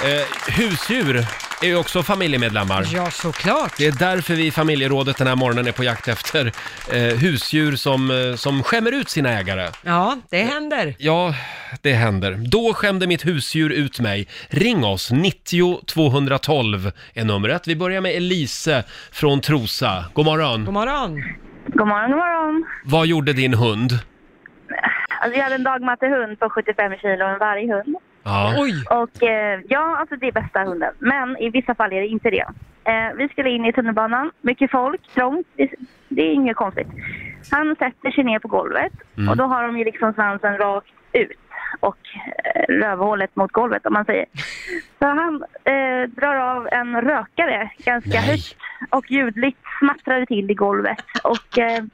Eh, husdjur är ju också familjemedlemmar. Ja, såklart. Det är därför vi i familjerådet den här morgonen är på jakt efter eh, husdjur som, eh, som skämmer ut sina ägare. Ja, det händer. Ja, det händer. Då skämde mitt husdjur ut mig. Ring oss, 90 212 är numret. Vi börjar med Elise från Trosa. God morgon. God morgon. God morgon, god morgon. Vad gjorde din hund? Alltså, jag hade en dagmattehund på 75 kilo, en varghund. Ja, Oj. Och eh, ja, alltså det är bästa hunden. Men i vissa fall är det inte det. Eh, vi skulle in i tunnelbanan, mycket folk, trångt. Det, det är inget konstigt. Han sätter sig ner på golvet och då har de ju liksom svansen rakt ut och eh, rövhålet mot golvet om man säger. Så han eh, drar av en rökare ganska Nej. högt och ljudligt smattrar det till i golvet. Och eh,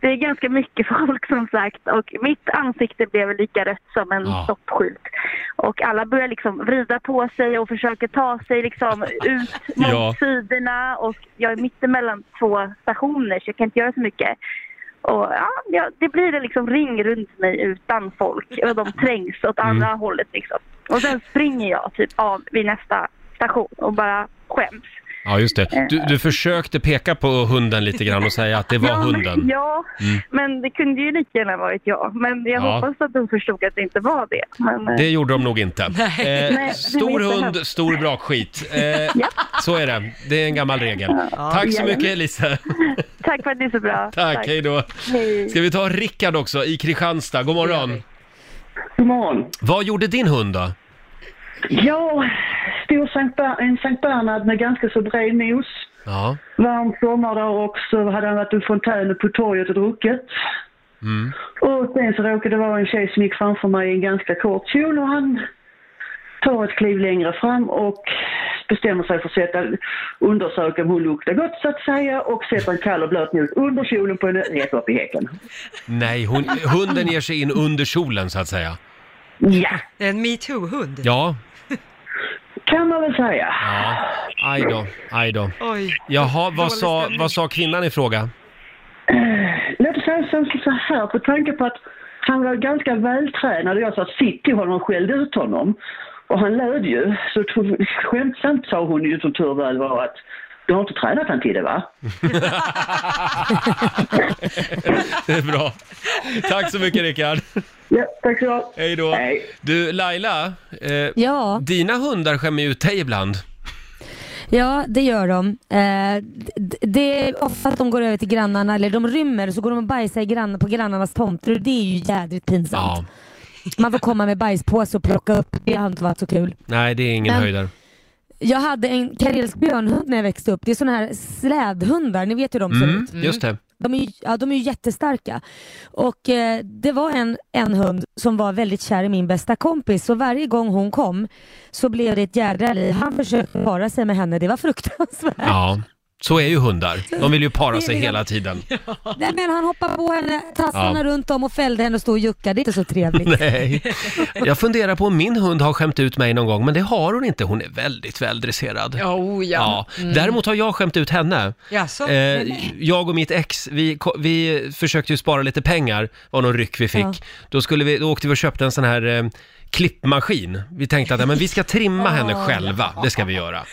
det är ganska mycket [laughs] folk som sagt och mitt ansikte blev lika rött som en Ja. stoppskylt. Och alla börjar liksom vrida på sig och försöker ta sig liksom ut mot Ja. sidorna och jag är mittemellan två stationer så jag kan inte göra så mycket. Och ja, ja, det blir en liksom ring runt mig utan folk och de trängs åt Mm. andra hållet liksom. Och sen springer jag typ av vid nästa station och bara skäms. ja just det. Du, du försökte peka på hunden lite grann och säga att det var ja, men- hunden. [laughs] Mm. Ja, men det kunde ju lika gärna varit jag. Men jag Ja. hoppas att de förstod att det inte var det. Men, eh, Det gjorde de nog inte. var Eh, inte stor hund, hemskt. stor brakskit. Eh, så är det. Det är en gammal regel. Tack så jajamän. mycket Elise. [laughs] Tack för att ni är så bra. Tack, hej då. Hej. Ska vi ta Rickard också i Kristianstad? God morgon. God morgon. Vad gjorde din hund då? Ja, stor Sankt Ber- en Sankt Bernhard med ganska så bred nos. Ja. Varm sommardag och så hade han varit i fontänen på torget och druckit. Och sen så råkade det vara en tjej som gick framför mig i en ganska kort kjol och han tar ett kliv längre fram och bestämmer sig för att sätta, undersöka om hon luktar gott så att säga och sätter en kall och blöt nos under kjolen på henne rätt upp i häcken. Nej, hon, hunden ger sig in under kjolen så att säga. Ja, Det är en metoo-hund. Ja. kan man väl säga. ja. Aj då, aj då. Oj. Jaha, vad Dålig sa, stämning. vad sa kvinnan i fråga? Låt oss säga som så här, på tanke på att han var ganska vältränad och jag sa sitt till honom och skällde ut honom. Och han löd ju. Så tro- skämtsamt sa hon ju som tur väl var att du har inte tränat han till det va? Det är bra. Tack så mycket Rickard. Ja, tack så mycket. Hej då. Hej. Du Laila, eh, Ja, dina hundar skämmer ju ut dig ibland. ja det gör de. Eh, d- det är ofta att de går över till grannarna, eller de rymmer och så går de och bajsar i grann, på grannarnas tomter och det är ju jädrigt Ja. pinsamt. Man får komma med bajspåse och plocka upp. Det har inte varit så kul. Nej, det är ingen Men- höjdare. Jag hade en karelsk björnhund när jag växte upp. Det är sådana här slädhundar, ni vet hur de ser ut. Mm, just det. De är ju, ja, de är ju jättestarka. Och eh, det var en, en hund som var väldigt kär i min bästa kompis så varje gång [laughs] hon kom så blev det ett jädra liv. Han försökte para sig med henne, det var fruktansvärt. Ja. Så är ju hundar. De vill ju para sig hela tiden. Nej, men han hoppade på henne, tassarna Ja. runt om och fällde henne och stod och juckade. Det är inte så [laughs] trevligt. Nej. Jag funderar på om min hund har skämt ut mig någon gång, men det har hon inte. Hon är väldigt väldresserad. Ja, oh, ja. Ja. Däremot har jag skämt ut henne. Jaså? Eh, jag och mitt ex, vi, ko- vi försökte ju spara lite pengar, var någon ryck vi fick. Ja. Då, skulle vi, då åkte vi och köpte en sån här eh, klippmaskin. Vi tänkte att ja, men vi ska trimma henne själva, det ska vi göra.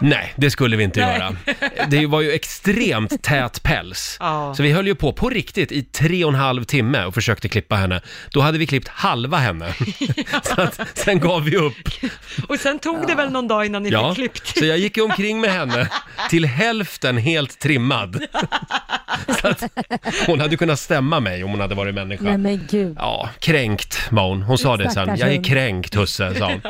Nej, det skulle vi inte göra. Det var ju extremt tät päls. Ja. Så vi höll ju på, på riktigt, i tre och en halv timme och försökte klippa henne. Då hade vi klippt halva henne. Så att, sen gav vi upp. Och sen tog det väl någon dag innan ni Ja, fick [laughs] klippt? så jag gick ju omkring med henne till hälften helt trimmad. Så att hon hade kunnat stämma mig om hon hade varit Nej människa. men gud. Ja, kränkt var hon. Hon sa det sen. Stackars Jag är hund. kränkt husse, sa hon.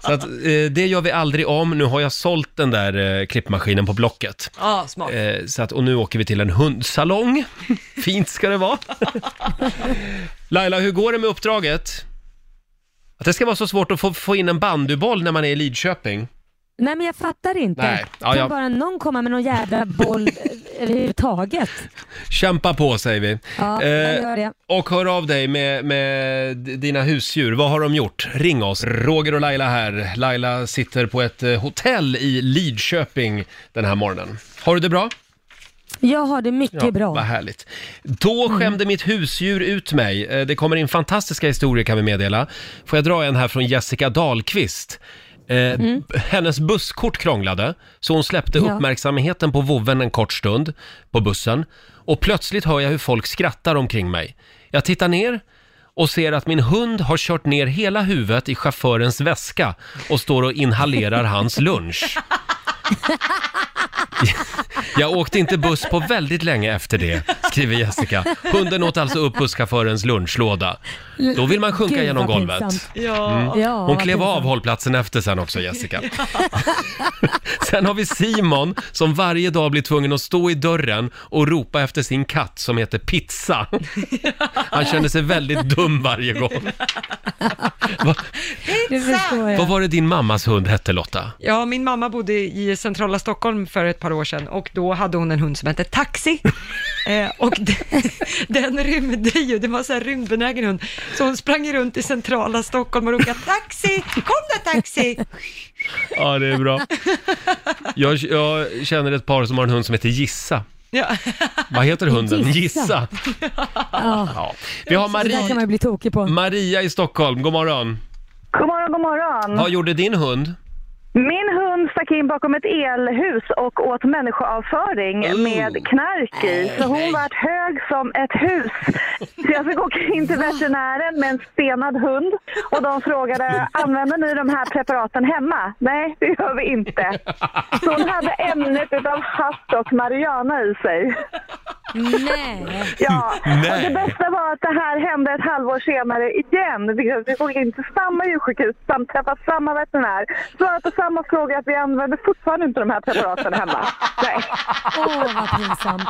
Så att, eh, det gör vi aldrig om. Nu har jag sålt den där eh, klippmaskinen på Blocket. Ja, smart. Eh, så att, och nu åker vi till en hundsalong. Fint ska det vara. Laila, hur går det med uppdraget? Att det ska vara så svårt att få, få in en bandyboll när man är i Lidköping. Nej men jag fattar inte. Nej. Ja, kan jag- bara någon komma med någon [laughs] jävla boll eh, överhuvudtaget? Kämpa på säger vi. Ja, jag Eh, gör det. och hör av dig med, med d- dina husdjur. Vad har de gjort? Ring oss. Roger och Laila här. Laila sitter på ett eh, hotell i Lidköping den här morgonen. Har du det bra? Jag har det mycket bra. Mm. Vad härligt. Då skämde mitt husdjur ut mig. Eh, Det kommer in fantastiska historier kan vi meddela. Får jag dra en här från Jessica Dahlqvist? Eh, b- Hennes busskort krånglade, så hon släppte Mm. Ja. uppmärksamheten på vovven en kort stund på bussen. Och plötsligt hör jag hur folk skrattar omkring mig. Jag tittar ner och ser att min hund har kört ner hela huvudet i chaufförens väska och står och inhalerar hans [laughs] lunch. Jag åkte inte buss på väldigt länge efter det, skriver Jessica. Hunden åt alltså upp busschaufförens lunchlåda. Då vill man sjunka Gud, genom vad golvet. pinsamt. Ja. Ja, Hon vad klev av pinsamt. hållplatsen efter sen också, Jessica. [laughs] sen har vi Simon som varje dag blir tvungen att stå i dörren och ropa efter sin katt som heter Pizza. Han känner sig väldigt dum varje [laughs] gång. Det förstår jag. Vad var det din mammas hund hette, Lotta? Ja, min mamma bodde i centrala Stockholm för ett par år sedan och då hade hon en hund som hette Taxi. [laughs] eh, och den, [laughs] den rymde ju, det var så här rymdbenägen hund. Så hon sprang ju runt i centrala Stockholm och ropade Taxi, kom då Taxi! Ja, det är bra. Jag, jag känner ett par som har en hund som heter Gissa. Ja. [laughs] Vad heter hunden? Gissa. Gissa. Ja. Ja. Mm. Vi har Det där kan man Marie, ju bli tokig på. Maria i Stockholm, god morgon. God morgon, god morgon. Vad gjorde din hund? Min hund stack in bakom ett elhus och åt människoavföring Ooh. med knark i. Så hon vart hög som ett hus. Så jag fick åka in till veterinären med en spenad hund och de frågade använder ni de här preparaten hemma? Nej, det gör vi inte. Så hon hade ämnet utav hasch och marijuana i sig. Nej. Ja, [laughs] och Nej. det bästa var att det här hände ett halvår senare igen. Vi- Vi åkte in till samma djursjukhus, sam- träffade samma veterinär, svarade på samma fråga att vi använder fortfarande inte de här preparaten [laughs] hemma. Nej. Åh, vad pinsamt.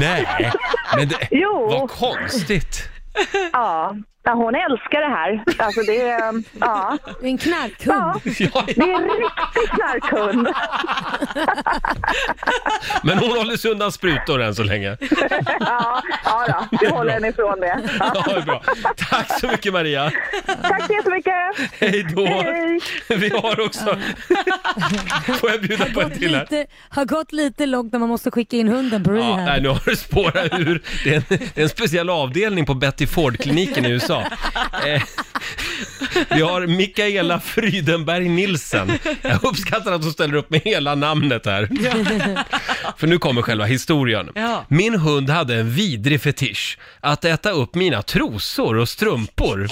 Nej, men det, Jo, vad konstigt. ja. ja. Hon älskar det här. Alltså det är, eh, ja. Det är En knarkhund. [laughs] Ja, Det är en [laughs] riktig knarkhund. men hon håller sig undan sprutor än så länge. Ja, ja då. Vi håller henne ifrån det. Ja. Ja, det är bra. Tack så mycket Maria. Tack så jättemycket. Hej då. Hej. Vi har också... Får jag bjuda på en till här? Lite, har gått lite långt när man måste skicka in hunden på Ja, rehab. nej, nu har det spårat ur. Det är, en, det är en speciell avdelning på Betty Ford-kliniken i USA. Eh, vi har Mikaela Frydenberg Nilsen. Jag uppskattar att hon ställer upp med hela namnet här. [laughs] För nu kommer själva historien. Ja. Min hund hade en vidrig fetisch. Att äta upp mina trosor och strumpor.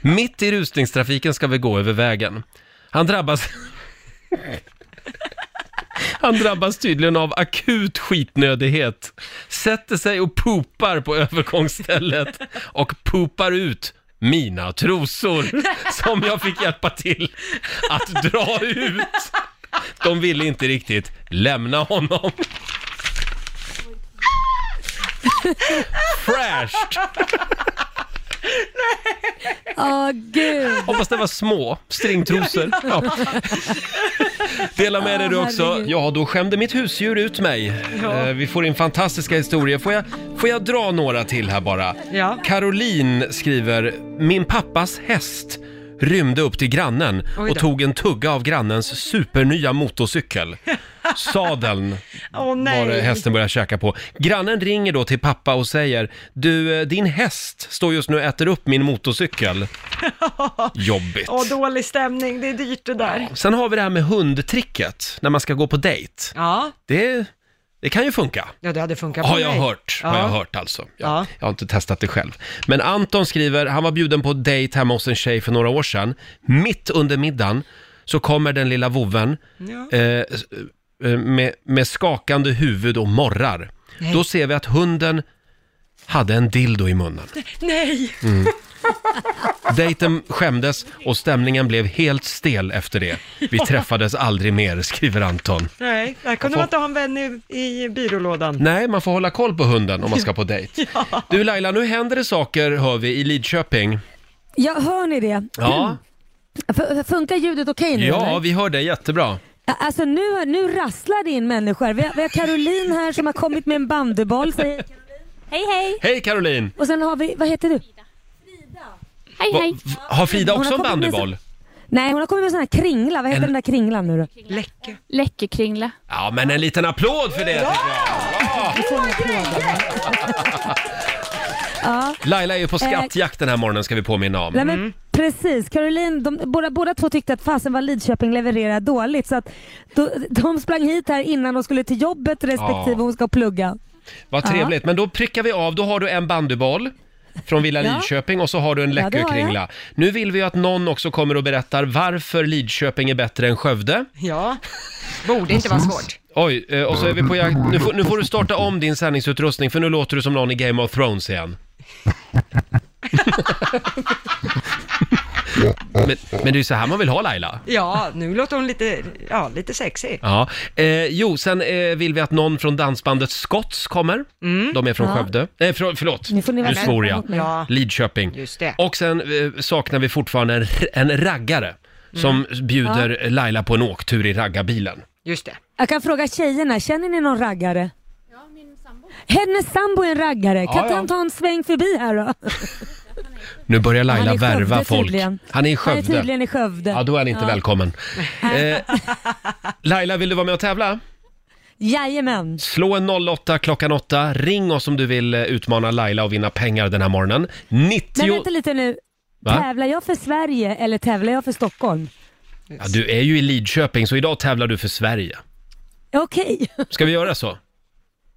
Mitt i rusningstrafiken ska vi gå över vägen. Han drabbas... Han drabbas tydligen av akut skitnödighet. Sätter sig och poopar på övergångsstället och poopar ut mina trosor som jag fick hjälpa till att dra ut. De ville inte riktigt lämna honom. Fräscht! Åh gud. Hoppas det var små stringtrosor. Ja. Dela med dig du Ja, också. herregud. Ja, då skämde mitt husdjur ut mig. Eh, Vi får in fantastiska historier. Får jag, får jag dra några till här bara? Ja. Caroline skriver, min pappas häst rymde upp till grannen Oj och då. tog en tugga av grannens supernya [laughs] motorcykel. Sadeln Åh var det nej. hästen började käka på. Grannen ringer då till pappa och säger Du, eh, din häst står just nu och äter upp min [laughs] motorcykel. Jobbigt. Åh, dålig stämning. Det är dyrt det där. Sen har vi det här med hundtricket, när man ska gå på dejt. Ja, Det, det kan ju funka. ja det hade funkat på Har jag mig. hört, har Ja. jag hört alltså. Jag, Ja. jag har inte testat det själv. Men Anton skriver, han var bjuden på dejt hemma hos en tjej för några år sedan. Mitt under middagen så kommer den lilla vovven Ja. eh, s- eh, med, med skakande huvud och morrar. Nej. Då ser vi att hunden hade en dildo i munnen. Nej, Dejten skämdes och stämningen blev helt stel efter det. Vi träffades aldrig mer, skriver Anton. nej, där kunde får- man inte ha en vän i, i byrålådan. Nej, man får hålla koll på hunden om man ska på [laughs] dejt. Du Laila, nu händer det saker hör vi i Lidköping. Ja, hör ni det? Ja, F- funkar ljudet okej nu ja eller? vi hör dig jättebra. Alltså nu, nu rasslar det in människor. Vi har, vi har Caroline här som har kommit med en bandyboll. Säger, hej hej! Hej Caroline! Och sen har vi, vad heter du? Hej, Va, hej. v- har Frida Hon har också en kommit med bandyboll? Nej, hon har kommit med en sån här kringla. Vad heter En- den där kringlan nu då? Läcke. Läckerkringla. Ja, men en liten applåd för det tycker jag. Laila är ju Eh. på skattjakt den här morgonen ska vi påminna om. Nej men precis, Caroline, de, båda, båda två tyckte att fasen vad Lidköping levererar dåligt så att de, de sprang hit här innan de skulle till jobbet respektive Ja. hon ska plugga. Vad trevligt, men då prickar vi av. Då har du en bandyboll från Villa Ja. Lidköping och så har du en Ja, det har Läckö-kringla. nu vill vi ju att någon också kommer och berättar varför Lidköping är bättre än Skövde. Ja, borde inte vara svårt. Oj, eh, och så är vi på jakt. Nu får, nu får du starta om din sändningsutrustning för nu låter du som någon i Game of Thrones igen. men, men det är ju så här man vill ha Laila. Ja, nu låter hon lite, ja, lite sexig. Ja. Eh, jo, sen eh, vill vi att någon från dansbandet Scotts kommer. De är från Mm. Ja. Skövde. Nej, för, förlåt. Nu får ni vara nu snälla svor jag. mot mig. Ja, Lidköping. Just det. Och sen eh, saknar vi fortfarande en, en raggare som Mm. bjuder Laila på en åktur i raggarbilen. just det. Jag kan fråga tjejerna, känner ni någon raggare? Hennes sambo är en raggare. Kan Ja, inte ja. han ta en sväng förbi här då? Nu börjar Han Laila är i Skövde värva folk. tydligen. Han är i Han är Skövde. tydligen i Skövde. Ja, då är han inte välkommen. Eh, Laila, vill du vara med och tävla? Jajamän. Slå en 08 klockan 8. Ring oss om du vill eh, utmana Laila och vinna pengar den här morgonen. 90... Men vänta lite nu. Va? Tävlar jag för Sverige eller tävlar jag för Stockholm? Ja, du är ju i Lidköping, så idag tävlar du för Sverige. Okej. Ska vi göra så?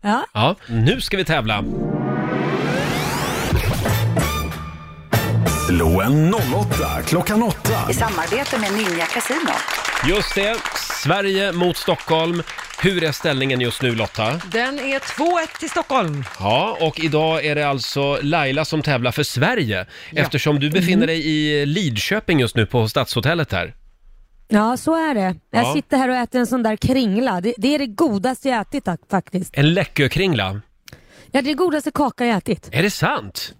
Ja. Ja, nu ska vi tävla. Slå en 08 klockan 8. samarbete med Ninja Casino. Just det, Sverige mot Stockholm. Hur är ställningen just nu Lotta? Den är 2-1 till Stockholm. Ja, och idag är det alltså Laila som tävlar för Sverige eftersom du befinner dig i Lidköping just nu på Stadshotellet här. Ja, så är det. Jag Ja. sitter här och äter en sån där kringla. Det, det är det godaste jag ätit tack, faktiskt. En läckökringla. Ja, det är det godaste kaka jag ätit. Är det sant?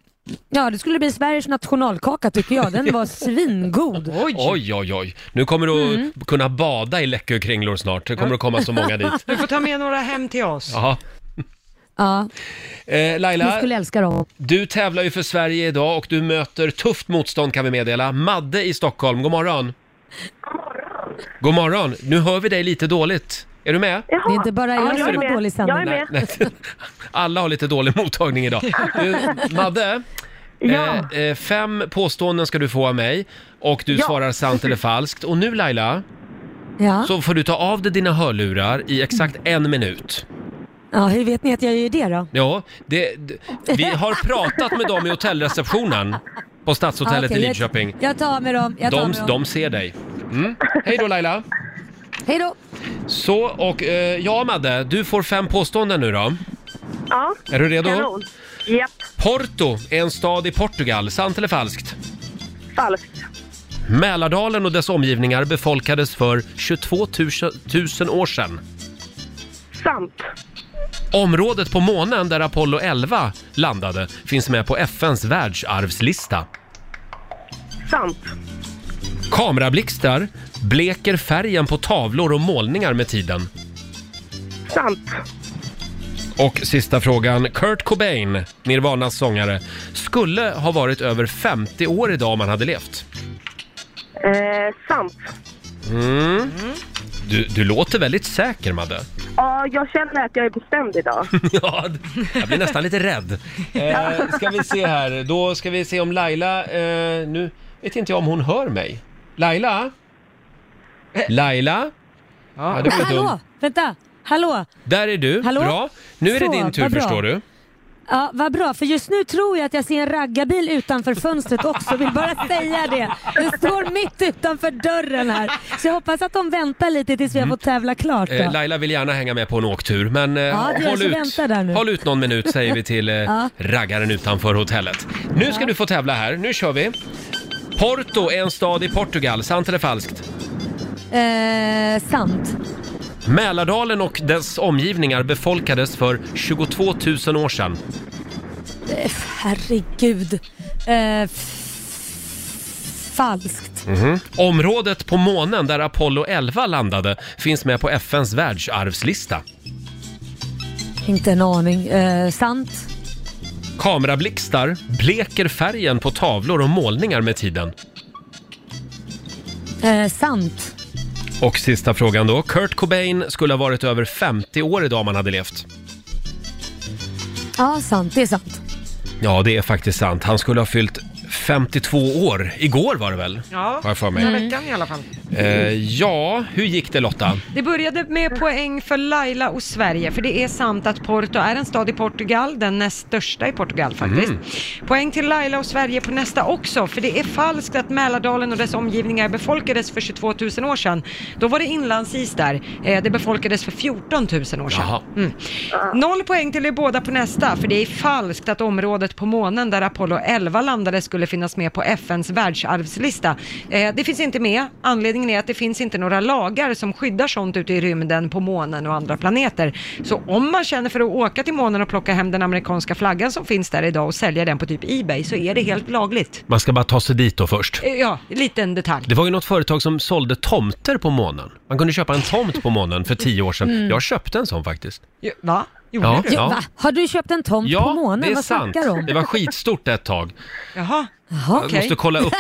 Ja, det skulle bli Sveriges nationalkaka tycker jag. [laughs] Den var svingod. Oj, oj, oj. Nu kommer du Mm. att kunna bada i läckökringlor snart. Det kommer att komma så många [laughs] dit. Du får ta med några hem till oss. Jaha. Ja, Eh, jag Laila, skulle älska dem. du tävlar ju för Sverige idag och du möter tufft motstånd kan vi meddela. Madde i Stockholm, god morgon. God morgon. Nu hör vi dig lite dåligt. Är du med? Jaha. Det är inte bara jag Ja, som är har med. dålig Jag är sändning. med. Nej. Alla har lite dålig [laughs] mottagning idag. Du, Madde, [laughs] Ja. eh, eh, fem påståenden ska du få av mig och du Ja. svarar sant eller falskt. Och nu Laila, Ja. så får du ta av dig dina hörlurar i exakt en minut. ja, hur vet ni att jag gör det då? Ja, det, d- vi har pratat med dem i hotellreceptionen på Ja, Stadshotellet okej, i Lidköping. Jag, jag tar med dem. Jag tar De, med dem. de ser dig. Mm. Hej då Laila! Hej då. Så, och eh, ja Madde, du får fem påståenden nu då. Ja, Är du redo? kanon. Japp, Porto är en stad i Portugal, sant eller falskt? falskt. Mälardalen och dess omgivningar befolkades för 22 000 år sedan. Sant. Området på månen där Apollo 11 landade finns med på FNs världsarvslista. Sant. Kamerablixtar bleker färgen på tavlor och målningar med tiden. Sant. Och sista frågan. Kurt Cobain, Nirvanas sångare, skulle ha varit över 50 år idag om han hade levt. Eh, sant. Mm. Du, du låter väldigt säker, Madde. Ja, jag känner att jag är bestämd [laughs] idag. [laughs] ja, Jag blir nästan lite rädd. Eh, ska vi se här, då ska vi se om Laila, eh, nu vet inte jag om hon hör mig. Laila? Laila? Ja, det var ju dumt. Eh. Hallå, vänta. Hallå. Där är du, Hallå? bra. Nu är det Så, din tur vad bra. förstår du. Ja, vad bra, för just nu tror jag att jag ser en raggarbil utanför fönstret också. Vill bara säga det. Den står mitt utanför dörren här. Så jag hoppas att de väntar lite tills vi har fått tävla klart. Mm. Eh, Då. Laila vill gärna hänga med på en åktur, men eh, Ja, det gör håll, så. ut. Vänta där nu. håll ut någon minut säger vi till eh, [laughs] Ja. raggaren utanför hotellet. Nu ska du få tävla här, nu kör vi. Porto är en stad i Portugal, sant eller falskt? Eh, sant. Mälardalen och dess omgivningar befolkades för 22 000 år sedan. Eh, f- herregud. Eh, f- falskt. Området på månen där Apollo 11 landade finns med på FNs världsarvslista. Inte en aning. Eh, sant. Kamerablixtar bleker färgen på tavlor och målningar med tiden. Eh, sant. Och sista frågan då. Kurt Cobain skulle ha varit över 50 år idag om han hade levt. Ja, sant. Det är sant. Ja, det är faktiskt sant. Han skulle ha fyllt 52 år. Igår var det väl? Ja, Har jag för mig. förra veckan i alla fall. Eh, ja, hur gick det Lotta? Det började med poäng för Laila och Sverige, för det är sant att Porto är en stad i Portugal, den näst största i Portugal faktiskt. Mm. Poäng till Laila och Sverige på nästa också, för det är falskt att Mälardalen och dess omgivningar befolkades för 22 000 år sedan. Då var det inlandsis där, Eh, det befolkades för 14 000 år sedan. Jaha. Mm. Noll poäng till er båda på nästa, för det är falskt att området på månen där Apollo 11 landade skulle finnas med på FNs världsarvslista. Eh, det finns inte med. Anledningen är att det finns inte några lagar som skyddar sånt ute i rymden, på månen och andra planeter. Så om man känner för att åka till månen och plocka hem den amerikanska flaggan som finns där idag och sälja den på typ Ebay så är det helt lagligt. Man ska bara ta sig dit då först. Eh, ja, liten detalj. Det var ju något företag som sålde tomter på månen. Man kunde köpa en tomt på månen för 10 år sedan. Mm. Jag köpte en sån faktiskt. Jo, Va? Gjorde Ja, du? ja. Va? Har du köpt en tomt på Ja, månen? det är Vad sant. snackar du om? Det var skitstort ett tag. Jaha, Jaha, Jag måste kolla [laughs] upp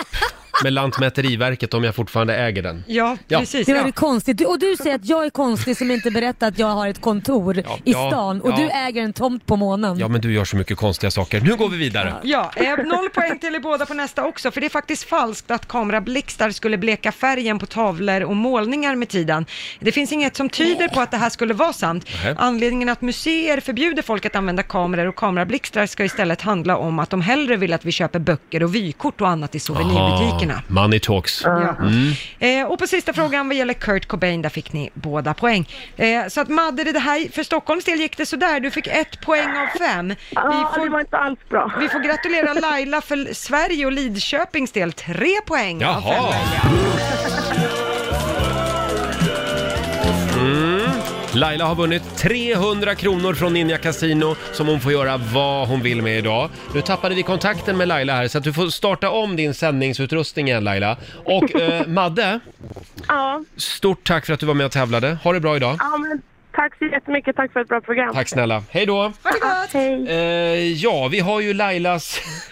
med Lantmäteriverket om jag fortfarande äger den. Ja, Ja. precis. Det var ja. det konstigt. Du- Och du säger att jag är konstig som inte berättar att jag har ett kontor i ja, stan och ja. du äger en tomt på månen. Ja, men du gör så mycket konstiga saker. Nu går vi vidare. Ja, eh, noll poäng till er båda på nästa också, för det är faktiskt falskt att kamerablixtar skulle bleka färgen på tavlor och målningar med tiden. Det finns inget som tyder på att det här skulle vara sant. Nej. Anledningen att museer förbjuder folk att använda kameror och kamerablixtar ska istället handla om att de hellre vill att vi köper böcker och vykort och annat i souvenirbutikerna. Aha, Ah, Money talks. Ja. Mm. Eh, och på sista frågan vad gäller Kurt Cobain, där fick ni båda poäng. Eh, så att Madde, det här, för Stockholms del gick det sådär, du fick ett poäng av fem. Vi får, det var inte alls bra. Vi får gratulera Laila för Sverige och Lidköpings del, tre poäng av fem. Jaha. Mm. Laila har vunnit 300 kronor från Ninja Casino som hon får göra vad hon vill med idag. Nu tappade vi kontakten med Laila här så att du får starta om din sändningsutrustning igen Laila. Och [laughs] eh, Madde, Ja, stort tack för att du var med och tävlade. Ha det bra idag. ja men tack så jättemycket. Tack för ett bra program. Tack snälla. Hej då! Ja, hej. Eh, ja, vi har ju Lailas [laughs]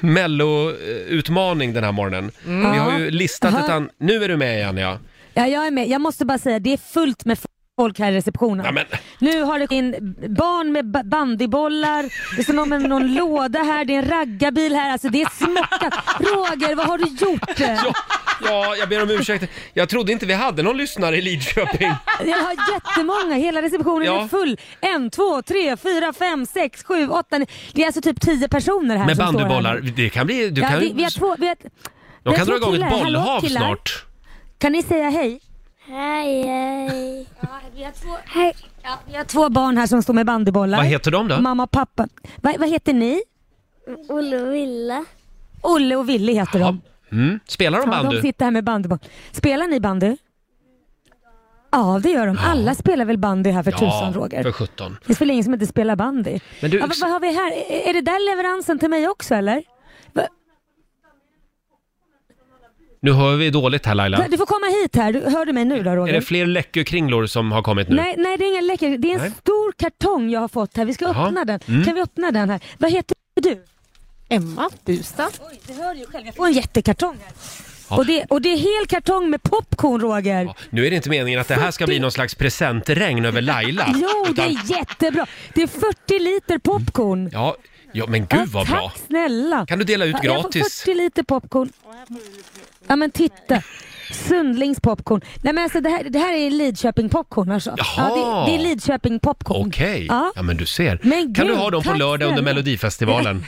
Mello-utmaning den här morgonen. Mm. Vi har ju Ja. listat ett Aha. an... Nu är du med igen ja. Ja, jag är med. Jag måste bara säga, det är fullt med folk här i receptionen. Ja, men- Nu har det kommit in barn med ba- bandybollar, det är som om en- någon låda här, det är en raggarbil här, alltså det är smockat. Roger, vad har du gjort? [laughs] Ja, ja, jag ber om ursäkt. Jag trodde inte vi hade någon lyssnare i Lidköping. Jag har jättemånga, hela receptionen Ja. är full. En, två, tre, fyra, fem, sex, sju, åtta, nio. Det är alltså typ tio personer [laughs] här Med som står här. bandybollar, det kan bli... Du ja, kan, vi, vi har två, vi har, vi de har kan två dra igång killar. ett Hallå, bollhav killar. snart. Kan ni säga hej? Hej, hej. vi har två... Hej. Ja, vi har två barn här som står med bandybollar. Vad heter de då? Mamma och pappa. Va, vad heter ni? Olle och Wille. Olle och Ville heter de. Mm. Spelar de Ja, de bandy? sitter här med bandyboll. Spelar ni bandy? Ja, Ja, det gör de. Alla spelar väl bandy här för tusan, Roger? för 17. Det är väl ingen som inte spelar bandy? Men du- ja, vad, vad har vi här? Är- Är det där leveransen till mig också, eller? Va- Nu hör vi dåligt här Laila. Du får komma hit här. Du, hör du mig nu då, Roger? Är det fler läckerkringlor som har kommit nu? Nej, nej, det är ingen läcker. Det är en Nej. stor kartong jag har fått här. Vi ska Jaha. öppna den. Mm. Kan vi öppna den här? Vad heter du? Emma Bustad. Oj, det hör ju själv. Jag får en jättekartong här. Ja. Och, det, och det är hel kartong med popcorn, Roger. Nu är det inte meningen att det här ska bli någon slags presentregn över [laughs] Laila. Jo, det är jättebra. Det är 40 liter popcorn. Mm. Ja, ja men gud vad bra. Tack snälla. Kan du dela ut Ja, jag får gratis? 40 liter popcorn. Ja men titta. Sundlings popcorn. Nej men alltså det här, det här är Lidköping popcorn alltså. Jaha. Ja, det, det är Lidköping popcorn. Okej, ja. Ja. men du ser. Men kan du gud, ha dem på tack lördag under snälla. [laughs] Melodifestivalen?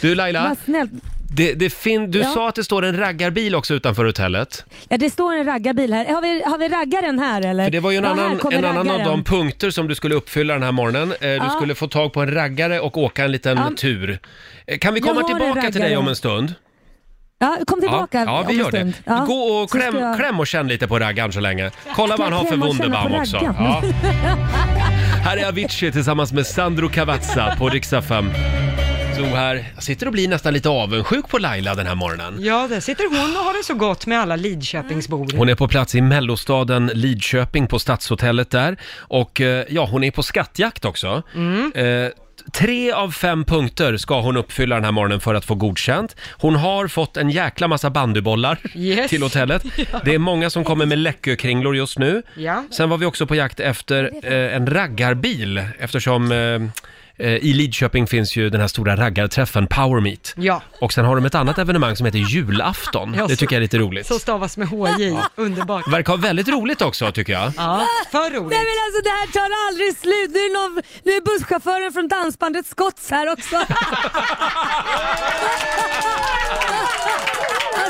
du Laila, Vad snällt. det, det fin- du Ja. sa att det står en raggarbil också utanför hotellet. Ja, det står en raggarbil här. Har vi, har vi raggaren här eller? För det var ju en Ja, här annan, kommer en annan av raggaren. de punkter som du skulle uppfylla den här morgonen. Eh, Du Ja. skulle få tag på en raggare och åka en liten Ja. tur. Eh, Kan vi Jag komma har en tillbaka till dig raggare. om en stund? Ja, kom tillbaka ja, ja, om vi en gör det. stund. Ja. Gå och Så ska kläm, jag- kläm och känn lite på raggaren så länge. Kolla vad han har för Kläm och känna på Wunderbaum också. raggan. Ja. Här är Avicii tillsammans med Sandro Cavazza på riksdag 5. Så här, jag sitter och blir nästan lite avundsjuk på Laila den här morgonen. Ja, där sitter hon och har det så gott med alla Lidköpingsbor. Mm. Hon är på plats i mellostaden Lidköping på Stadshotellet där. Och eh, ja, hon är på skattjakt också. Mm. Eh, Tre av fem punkter ska hon uppfylla den här morgonen för att få godkänt. Hon har fått en jäkla massa bandybollar Yes. till [laughs] hotellet. Det är många som kommer med läckökringlor just nu. Ja. Sen var vi också på jakt efter eh, en raggarbil eftersom eh, eh, i Lidköping finns ju den här stora raggarträffen Power Meet. Ja. Och sen har de ett annat evenemang som heter julafton. Ja, Det så- tycker jag är lite roligt. Som stavas med HJ. Underbart. Verkar ha väldigt roligt också tycker jag. Ja, för roligt. Nej men alltså det här tar aldrig slut. Nu är, någon, nu är busschauffören från dansbandet Skotts här också. [laughs] alltså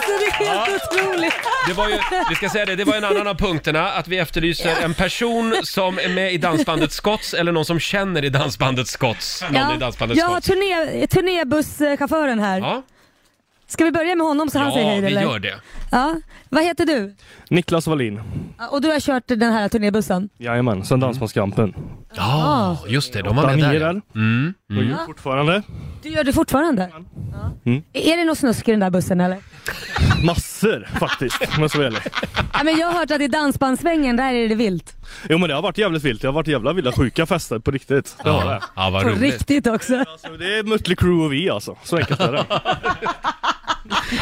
det är helt otroligt. Det var ju, vi ska säga det, det var en annan av punkterna, att vi efterlyser en person som är med i dansbandet Scotts eller någon som känner i dansbandet Scotts. Någon i dansbandet jag har Scotts. turné, turnébusschauffören här. Ja, Ska vi börja med honom så han säger ja hej vi eller? gör det. Ja. Vad heter du? Niklas Wallin. Ja, Och du har kört den här turnébussen? Jajamän, sen Dansbandskampen. Ja, just det, de har med Åtta där. mil. Mm, Och mm. gör fortfarande. Du gör det fortfarande? Mm. Är det något snusk i den där bussen eller? Massor faktiskt, om jag ska vara ärlig. Ja, men jag har hört att i dansbandsvängen där är det vilt. Jo men det har varit jävligt vilt. Det har varit jävla vilda sjuka fester på riktigt. Det har det. Ja, vad På roligt. riktigt också. Alltså, det är Mötley Crüe och vi alltså. Så enkelt är det.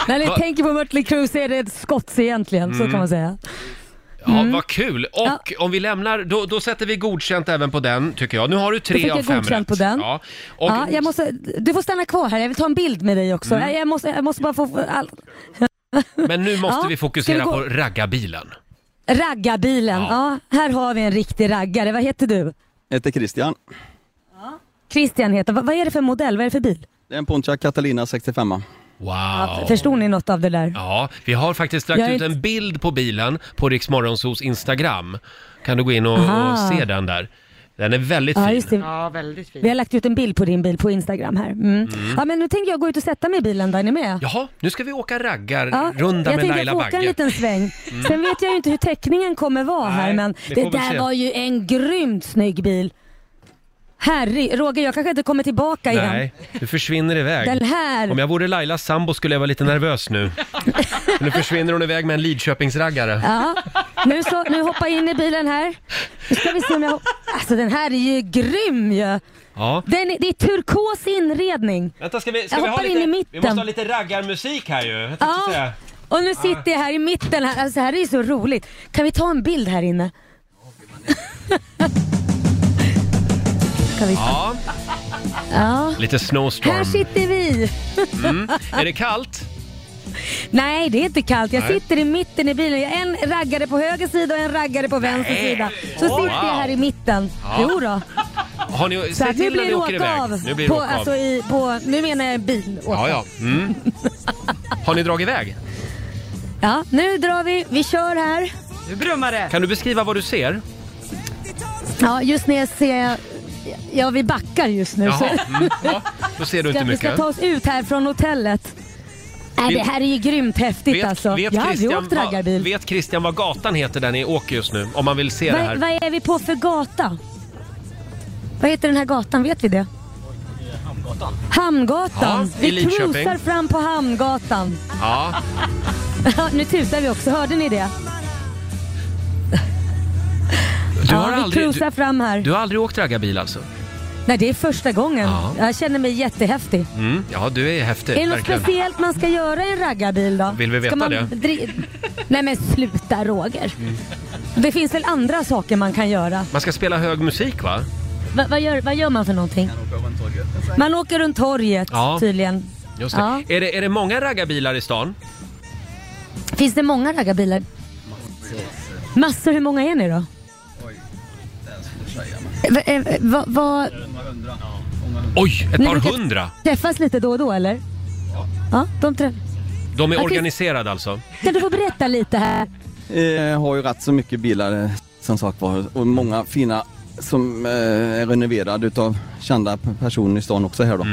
När ni Va- Mm. tänker på Mötley Crüe så är det ett skott egentligen, så kan man säga. Ja, Mm. vad kul. Och om vi lämnar, då, då sätter vi godkänt även på den, tycker jag. Nu har du Då tre fick av jag fem godkänt rätt. på den. Ja, och ja, jag måste, du får stanna kvar här, jag vill ta en bild med dig också. Mm. Jag, måste, jag måste bara få... All, Men nu måste Ja, vi fokusera ska vi på gå- raggarbilen. raggarbilen, Ja. ja. Här har vi en riktig raggare. Vad heter du? Jag heter Christian. Christian heter Vad vad är det för modell? Vad är det för bil? Det är en Pontiac Catalina 65. Wow. Förstod ni något av det där? Ja, vi har faktiskt lagt Jag är ut en bild på bilen på Rix Morgonzos Instagram. Kan du gå in och, och Aha. se den där? Den är väldigt Ja, fin. just det. Ja, väldigt fint. Vi har lagt ut en bild på din bil på Instagram här. Mm. Mm. Ja, men nu tänker jag gå ut och sätta mig i bilen, där är ni med? Jaha, nu ska vi åka Ja, raggar-runda jag med tänkte Laila jag får åka en Bagge. liten sväng. Mm. Sen vet jag ju inte hur teckningen kommer vara här men vi det, får väl där se. var ju en grymt snygg bil. Herre, Roger jag kanske inte kommer tillbaka igen. Nej, du försvinner iväg. Den här. Om jag vore Lailas sambo skulle jag vara lite nervös [laughs] nu. Men nu försvinner hon iväg med en Lidköpingsraggare. Ja, nu, så, nu hoppa in i bilen här. Nu ska vi se om jag... Alltså den här är ju grym ju. Ja. Den, är- det är turkos inredning. Vänta, ska vi, ska Jag vi ha hoppar in lite- i mitten. vi måste ha lite raggarmusik här Ah. ju. Jag Ja. säga. Ah, Och nu sitter jag här i mitten här. Alltså det här är ju så roligt. Kan vi ta en bild [laughs] här inne? Ska vi... Ja, ja. lite Här snowstorm. sitter vi. Mm. Är det kallt? Nej, det är inte kallt. Jag Nej. sitter i mitten i bilen. Jag har en raggare på höger sida och en raggare på vänster Nej. sida. Så Wow. sitter jag här i mitten. Ja. Jo då. Har ni, Så säg att nu till när blir ni det åker åka iväg. av. Nu blir det på, åka av. alltså i, på, nu menar jag bil. åka. Ja, ja. Mm. Har ni dragit iväg? Ja, nu drar vi. Vi kör här. Nu brummar det. Kan du beskriva vad du ser? Ja, just nu ser jag... Ja, vi backar just nu. Jaha, mm, ja, då ser du ska, inte vi mycket. ska ta oss ut här från hotellet. Nej, det här är ju grymt häftigt Vet, alltså. vet, jag har aldrig Christian, åkt vad, raggarbil. vet Christian vad gatan heter där ni åker just nu? Om man vill se det Vad, här. vad är vi på för gata? Vad heter den här gatan? Vet vi det? Hamngatan. Hamngatan. Ja, i vi Lidköping. cruisar fram på Hamngatan. Ja. nu tutar vi också, hörde ni det? Du har, ja, vi aldrig, cruisar du, fram här. du har aldrig åkt raggarbil alltså? Nej, det är första gången. Ja. Jag känner mig jättehäftig. Mm. Ja, du är häftig. är det något verkligen. speciellt man ska göra i en raggarbil då? Vill vi veta ska man det? dri- Nej men sluta Roger. Mm. Det finns väl andra saker man kan göra? Man ska spela hög musik va? Va- vad, gör, vad gör man för någonting? Man åker runt torget Ja. tydligen. Just det. Ja. Är, det, är det många raggarbilar i stan? Finns det många raggarbilar? Massor, hur många är ni då? Va, eh, va, va, Oj, ett Nej, par men kan- hundra! träffas lite då och då eller? Ja. ja de träff- De är Okej. organiserade alltså? kan du få berätta lite här? Eh, har ju rätt så mycket bilar eh, som sagt var och många fina som eh, är renoverade utav kända p- personer i stan också här då.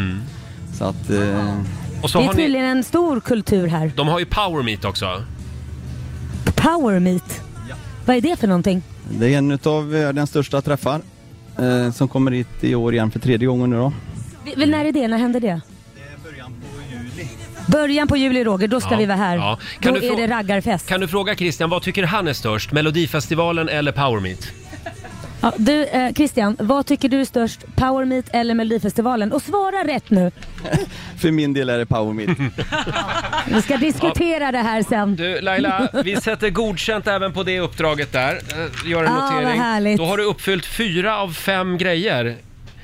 Så att... Eh, Och så Det är har ni, tydligen en stor kultur här. de har ju power meet också. Power meet. Vad är det för någonting? Det är en utav världens största träffar eh, som kommer hit i år igen för tredje gången nu då. Vi- vi- när är det? När händer det? Början på juli Roger, då ska Ja, vi vara här. ja. Då Kan du är frå- det raggarfest. Kan du fråga Christian, vad tycker han är störst? Melodifestivalen eller power meet? Ja, du eh, Christian, vad tycker du är störst? Power meet eller Melodifestivalen? Och svara rätt nu. [laughs] För min del är det Power Meet. [laughs] Vi ska diskutera det här sen. Du Laila, [laughs] vi sätter godkänt även på det uppdraget där. Eh, Gör en Ah, vad notering. härligt. Då har du uppfyllt fyra av fem grejer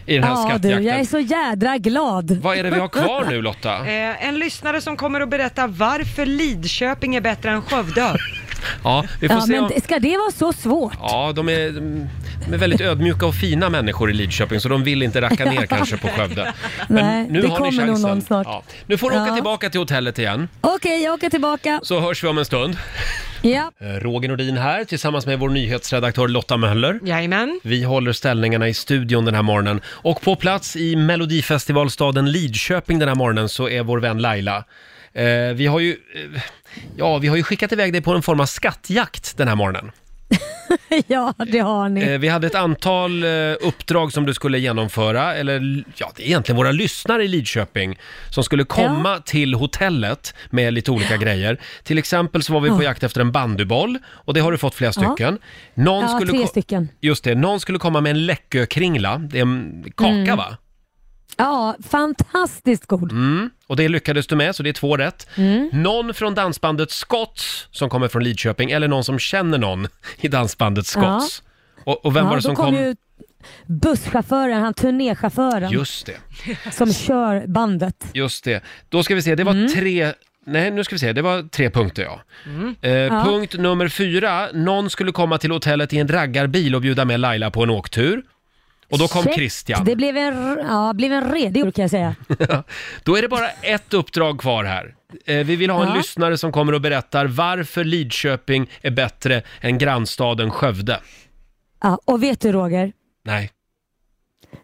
i den här Ja du, skattjakten. jag är så jädra glad. Vad är det vi har kvar nu Lotta? Eh, en lyssnare som kommer att berätta varför Lidköping är bättre än Skövde. Ja, vi får Ja, se men om... det- ska det vara så svårt? Ja, de är, de är väldigt ödmjuka och fina människor i Lidköping så de vill inte racka [laughs] ner kanske på Skövde. Nej, det kommer nog någon snart. Ja. Nu får du åka Ja. tillbaka till hotellet igen, Okej, jag åker tillbaka. så hörs vi om en stund. Ja. [laughs] Eh, Roger Nordin här tillsammans med vår nyhetsredaktör Lotta Möller. Jajamän. Vi håller ställningarna i studion den här morgonen. Och på plats i Melodifestivalstaden Lidköping den här morgonen så är vår vän Laila. Eh, vi, har ju, eh, ja, vi har ju skickat iväg dig på en form av skattjakt den här morgonen. ja, det har ni. Eh, Vi hade ett antal eh, uppdrag som du skulle genomföra, eller ja, det är egentligen våra lyssnare i Lidköping som skulle komma till hotellet med lite olika grejer. Till exempel så var vi på Ja. jakt efter en bandyboll och det har du fått flera Ja. stycken. Någon ja, skulle tre ko- stycken. Just det, någon skulle komma med en läckökringla, det är en kaka Mm. va? Ja, fantastiskt god. Mm. Och det lyckades du med, så det är två rätt. Mm. Någon från dansbandet Scotts som kommer från Lidköping, eller någon som känner någon i dansbandet Ja. Scotts. Och, och vem ja, var det då som kom? ju busschauffören, han turnéchauffören Just det. som kör bandet. Just det. Då ska vi se, det var Mm. tre... Nej, nu ska vi se, det var tre punkter ja. Eh, Mm. Ja. Punkt nummer fyra, någon skulle komma till hotellet i en raggarbil och bjuda med Laila på en åktur. Och då kom Check. Christian. Det blev en, r- ja, blev en redig kan jag säga. Då är det bara ett uppdrag kvar här. Eh, vi vill ha en Ja. lyssnare som kommer och berättar varför Lidköping är bättre än grannstaden Skövde. Ja, och vet du Roger? Nej.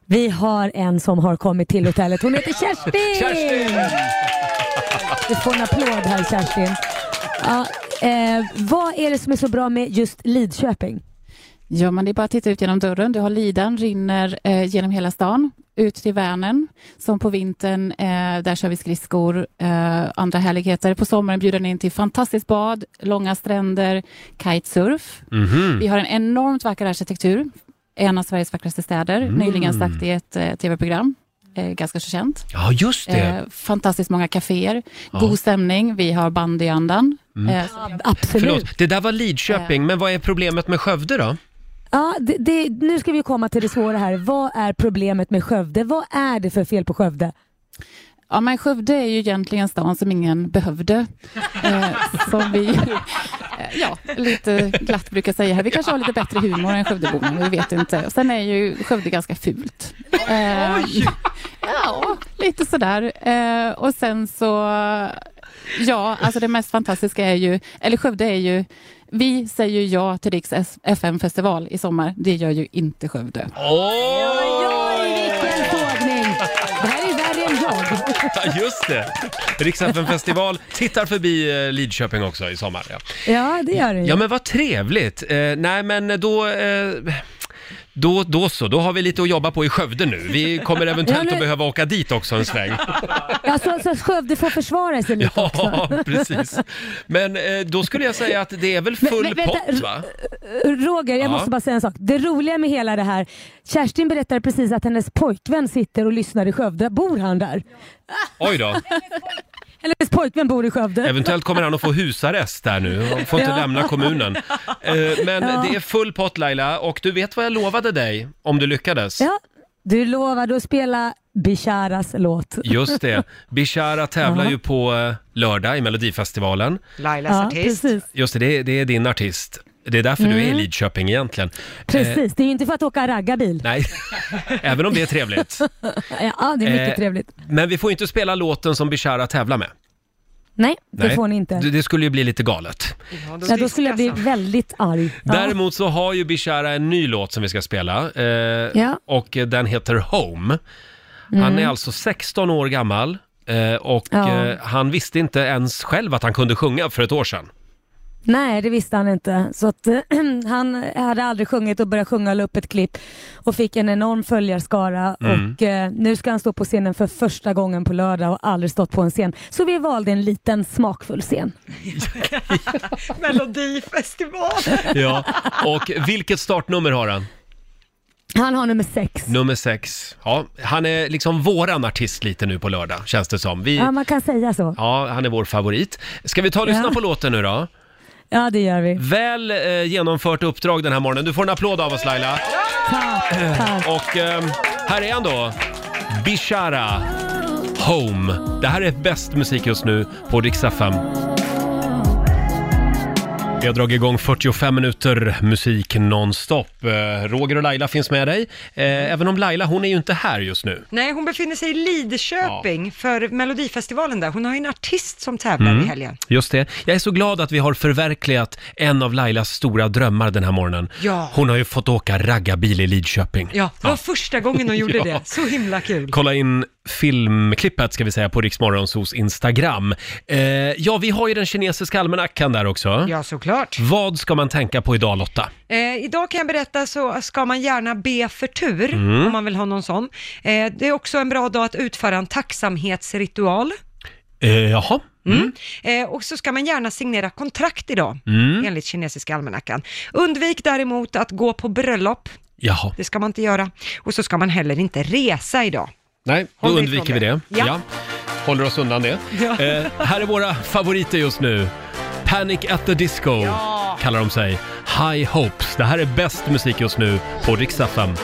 Vi har en som har kommit till hotellet. Hon heter Kerstin! Du får en applåd här Kerstin. Ja, eh, vad är det som är så bra med just Lidköping? Ja, men det är bara att titta ut genom dörren. Du har Lidan, rinner eh, genom hela stan, ut till Vänern, som på vintern, eh, där kör vi skridskor, eh, andra härligheter. På sommaren bjuder den in till fantastiskt bad, långa stränder, kitesurf. Mhm. Vi har en enormt vacker arkitektur, en av Sveriges vackraste städer, Mm. nyligen sagt i ett eh, tv-program, eh, ganska så känt. Ja, just det. Eh, fantastiskt många kaféer, Ja. god stämning, vi har bandyandan. Mm. eh, som- Förlåt, det där var Lidköping, men vad är problemet med Skövde då? Ja, det, det, nu ska vi komma till det svåra här. Vad är problemet med Skövde? Vad är det för fel på Skövde? Ja, men Skövde är ju egentligen stan som ingen behövde. Eh, som vi eh, ja, lite glatt brukar säga här. Vi kanske har lite bättre humor än Skövdeborna, vi vet inte. Och sen är ju Skövde ganska fult. Eh, ja, lite sådär. Eh, och sen så, ja, alltså det mest fantastiska är ju, eller Skövde är ju, vi säger ju ja till Riks FM-festival i sommar. Det gör ju inte Skövde. Åh! Oj, vilken sågning! Det här är värre än jag. Ja, just det. Riksdagen festival tittar förbi eh, Lidköping också i sommar. Ja, Ja, det gör den ju. ja men vad trevligt. Eh, nej, men då... Eh, då, då så, då har vi lite att jobba på i Skövde nu. Vi kommer eventuellt Ja, men- att behöva åka dit också en [laughs] sväng. Ja, så, så Alltså, Skövde får försvara sig lite Ja, också. precis. Men eh, då skulle jag säga att det är väl Men- full men vänta, pott, va? Roger, jag Ja. måste bara säga en sak. Det roliga med hela det här, Kerstin berättade precis att hennes pojkvän sitter och lyssnar i Skövde. Bor han där? Oj då. Hennes pojkvän bor i Skövde. Eventuellt kommer han att få husarrest där nu och får inte Ja. lämna kommunen. Eh, Men Ja. det är full pott Laila och du vet vad jag lovade dig om du lyckades? Ja, du lovade att spela Bisharas låt. Just det. Bishara tävlar Ja. ju på eh, lördag i Melodifestivalen. Lailas Ja, artist. precis. Just det, det, är- det är din artist. Det är därför du är i Mm. Lidköping egentligen. Eh, Precis, det är ju inte för att åka raggarbil. nej, [laughs] även om det är trevligt. Ja, det är mycket Eh, trevligt. Men vi får inte spela låten som Bishara tävlar med. Nej, det Nej. får ni inte. Det, det skulle ju bli lite galet. Ja, då skulle jag bli väldigt arg. Däremot så har ju Bishara en ny låt som vi ska spela eh, Ja. och eh, den heter Home. Han Mm. är alltså 16 år gammal eh, och Ja. eh, han visste inte ens själv att han kunde sjunga för ett år sedan. Nej, det visste han inte. Så att, [clears throat] eh, han hade aldrig sjungit och började sjunga och la upp ett klipp och fick en enorm följarskara Mm. och eh, nu ska han stå på scenen för första gången på lördag och aldrig stått på en scen. Så vi valde en liten smakfull scen. Melodifestival. Ja. [laughs] Och vilket startnummer har han? Han har nummer sex. Nummer sex. Ja, han är liksom våran artist lite nu på lördag, känns det som. Vi, Ja, ja, man kan säga så. han är vår favorit. Ska vi ta och lyssna Ja. på låten nu då? Ja, det gör vi. Väl eh, genomfört uppdrag den här morgonen. Du får en applåd av oss Laila. [clears throat] Och ehm, här är han då. Bishara Home. Det här är bäst musik just nu på Rix FM. Vi har dragit igång 45 minuter musik nonstop. Eh, Roger och Laila finns med dig. Eh, Även om Laila, hon är ju inte här just nu. Nej, hon befinner sig i Lidköping för Melodifestivalen där. Hon har ju en artist som tävlar i Mm, helgen. Just det. Jag är så glad att vi har förverkligat en av Lailas stora drömmar den här morgonen. Ja. Hon har ju fått åka raggarbil i Lidköping. Ja, det var första gången hon [laughs] gjorde Ja. det. Så himla kul. Kolla in filmklippet ska vi säga på Riksmorgonsos Instagram. Eh, ja, vi har ju den kinesiska almanackan där också. Ja, såklart. Vad ska man tänka på idag Lotta? Eh, idag kan jag berätta så ska man gärna be för tur, Mm. om man vill ha någon sån. Eh, det är också en bra dag att utföra en tacksamhetsritual. Eh, jaha? Mm. Eh, och så ska man gärna signera kontrakt idag, Mm. enligt kinesiska almanackan. Undvik däremot att gå på bröllop. Jaha. Det ska man inte göra. Och så ska man heller inte resa idag. Nej, då Håll dig undviker ifrån vi det. det. Ja. Håller oss undan det. Ja. Eh, här är våra favoriter just nu. Panic at the Disco kallar de sig. High Hopes. Det här är bäst musik just nu på Riksaffären.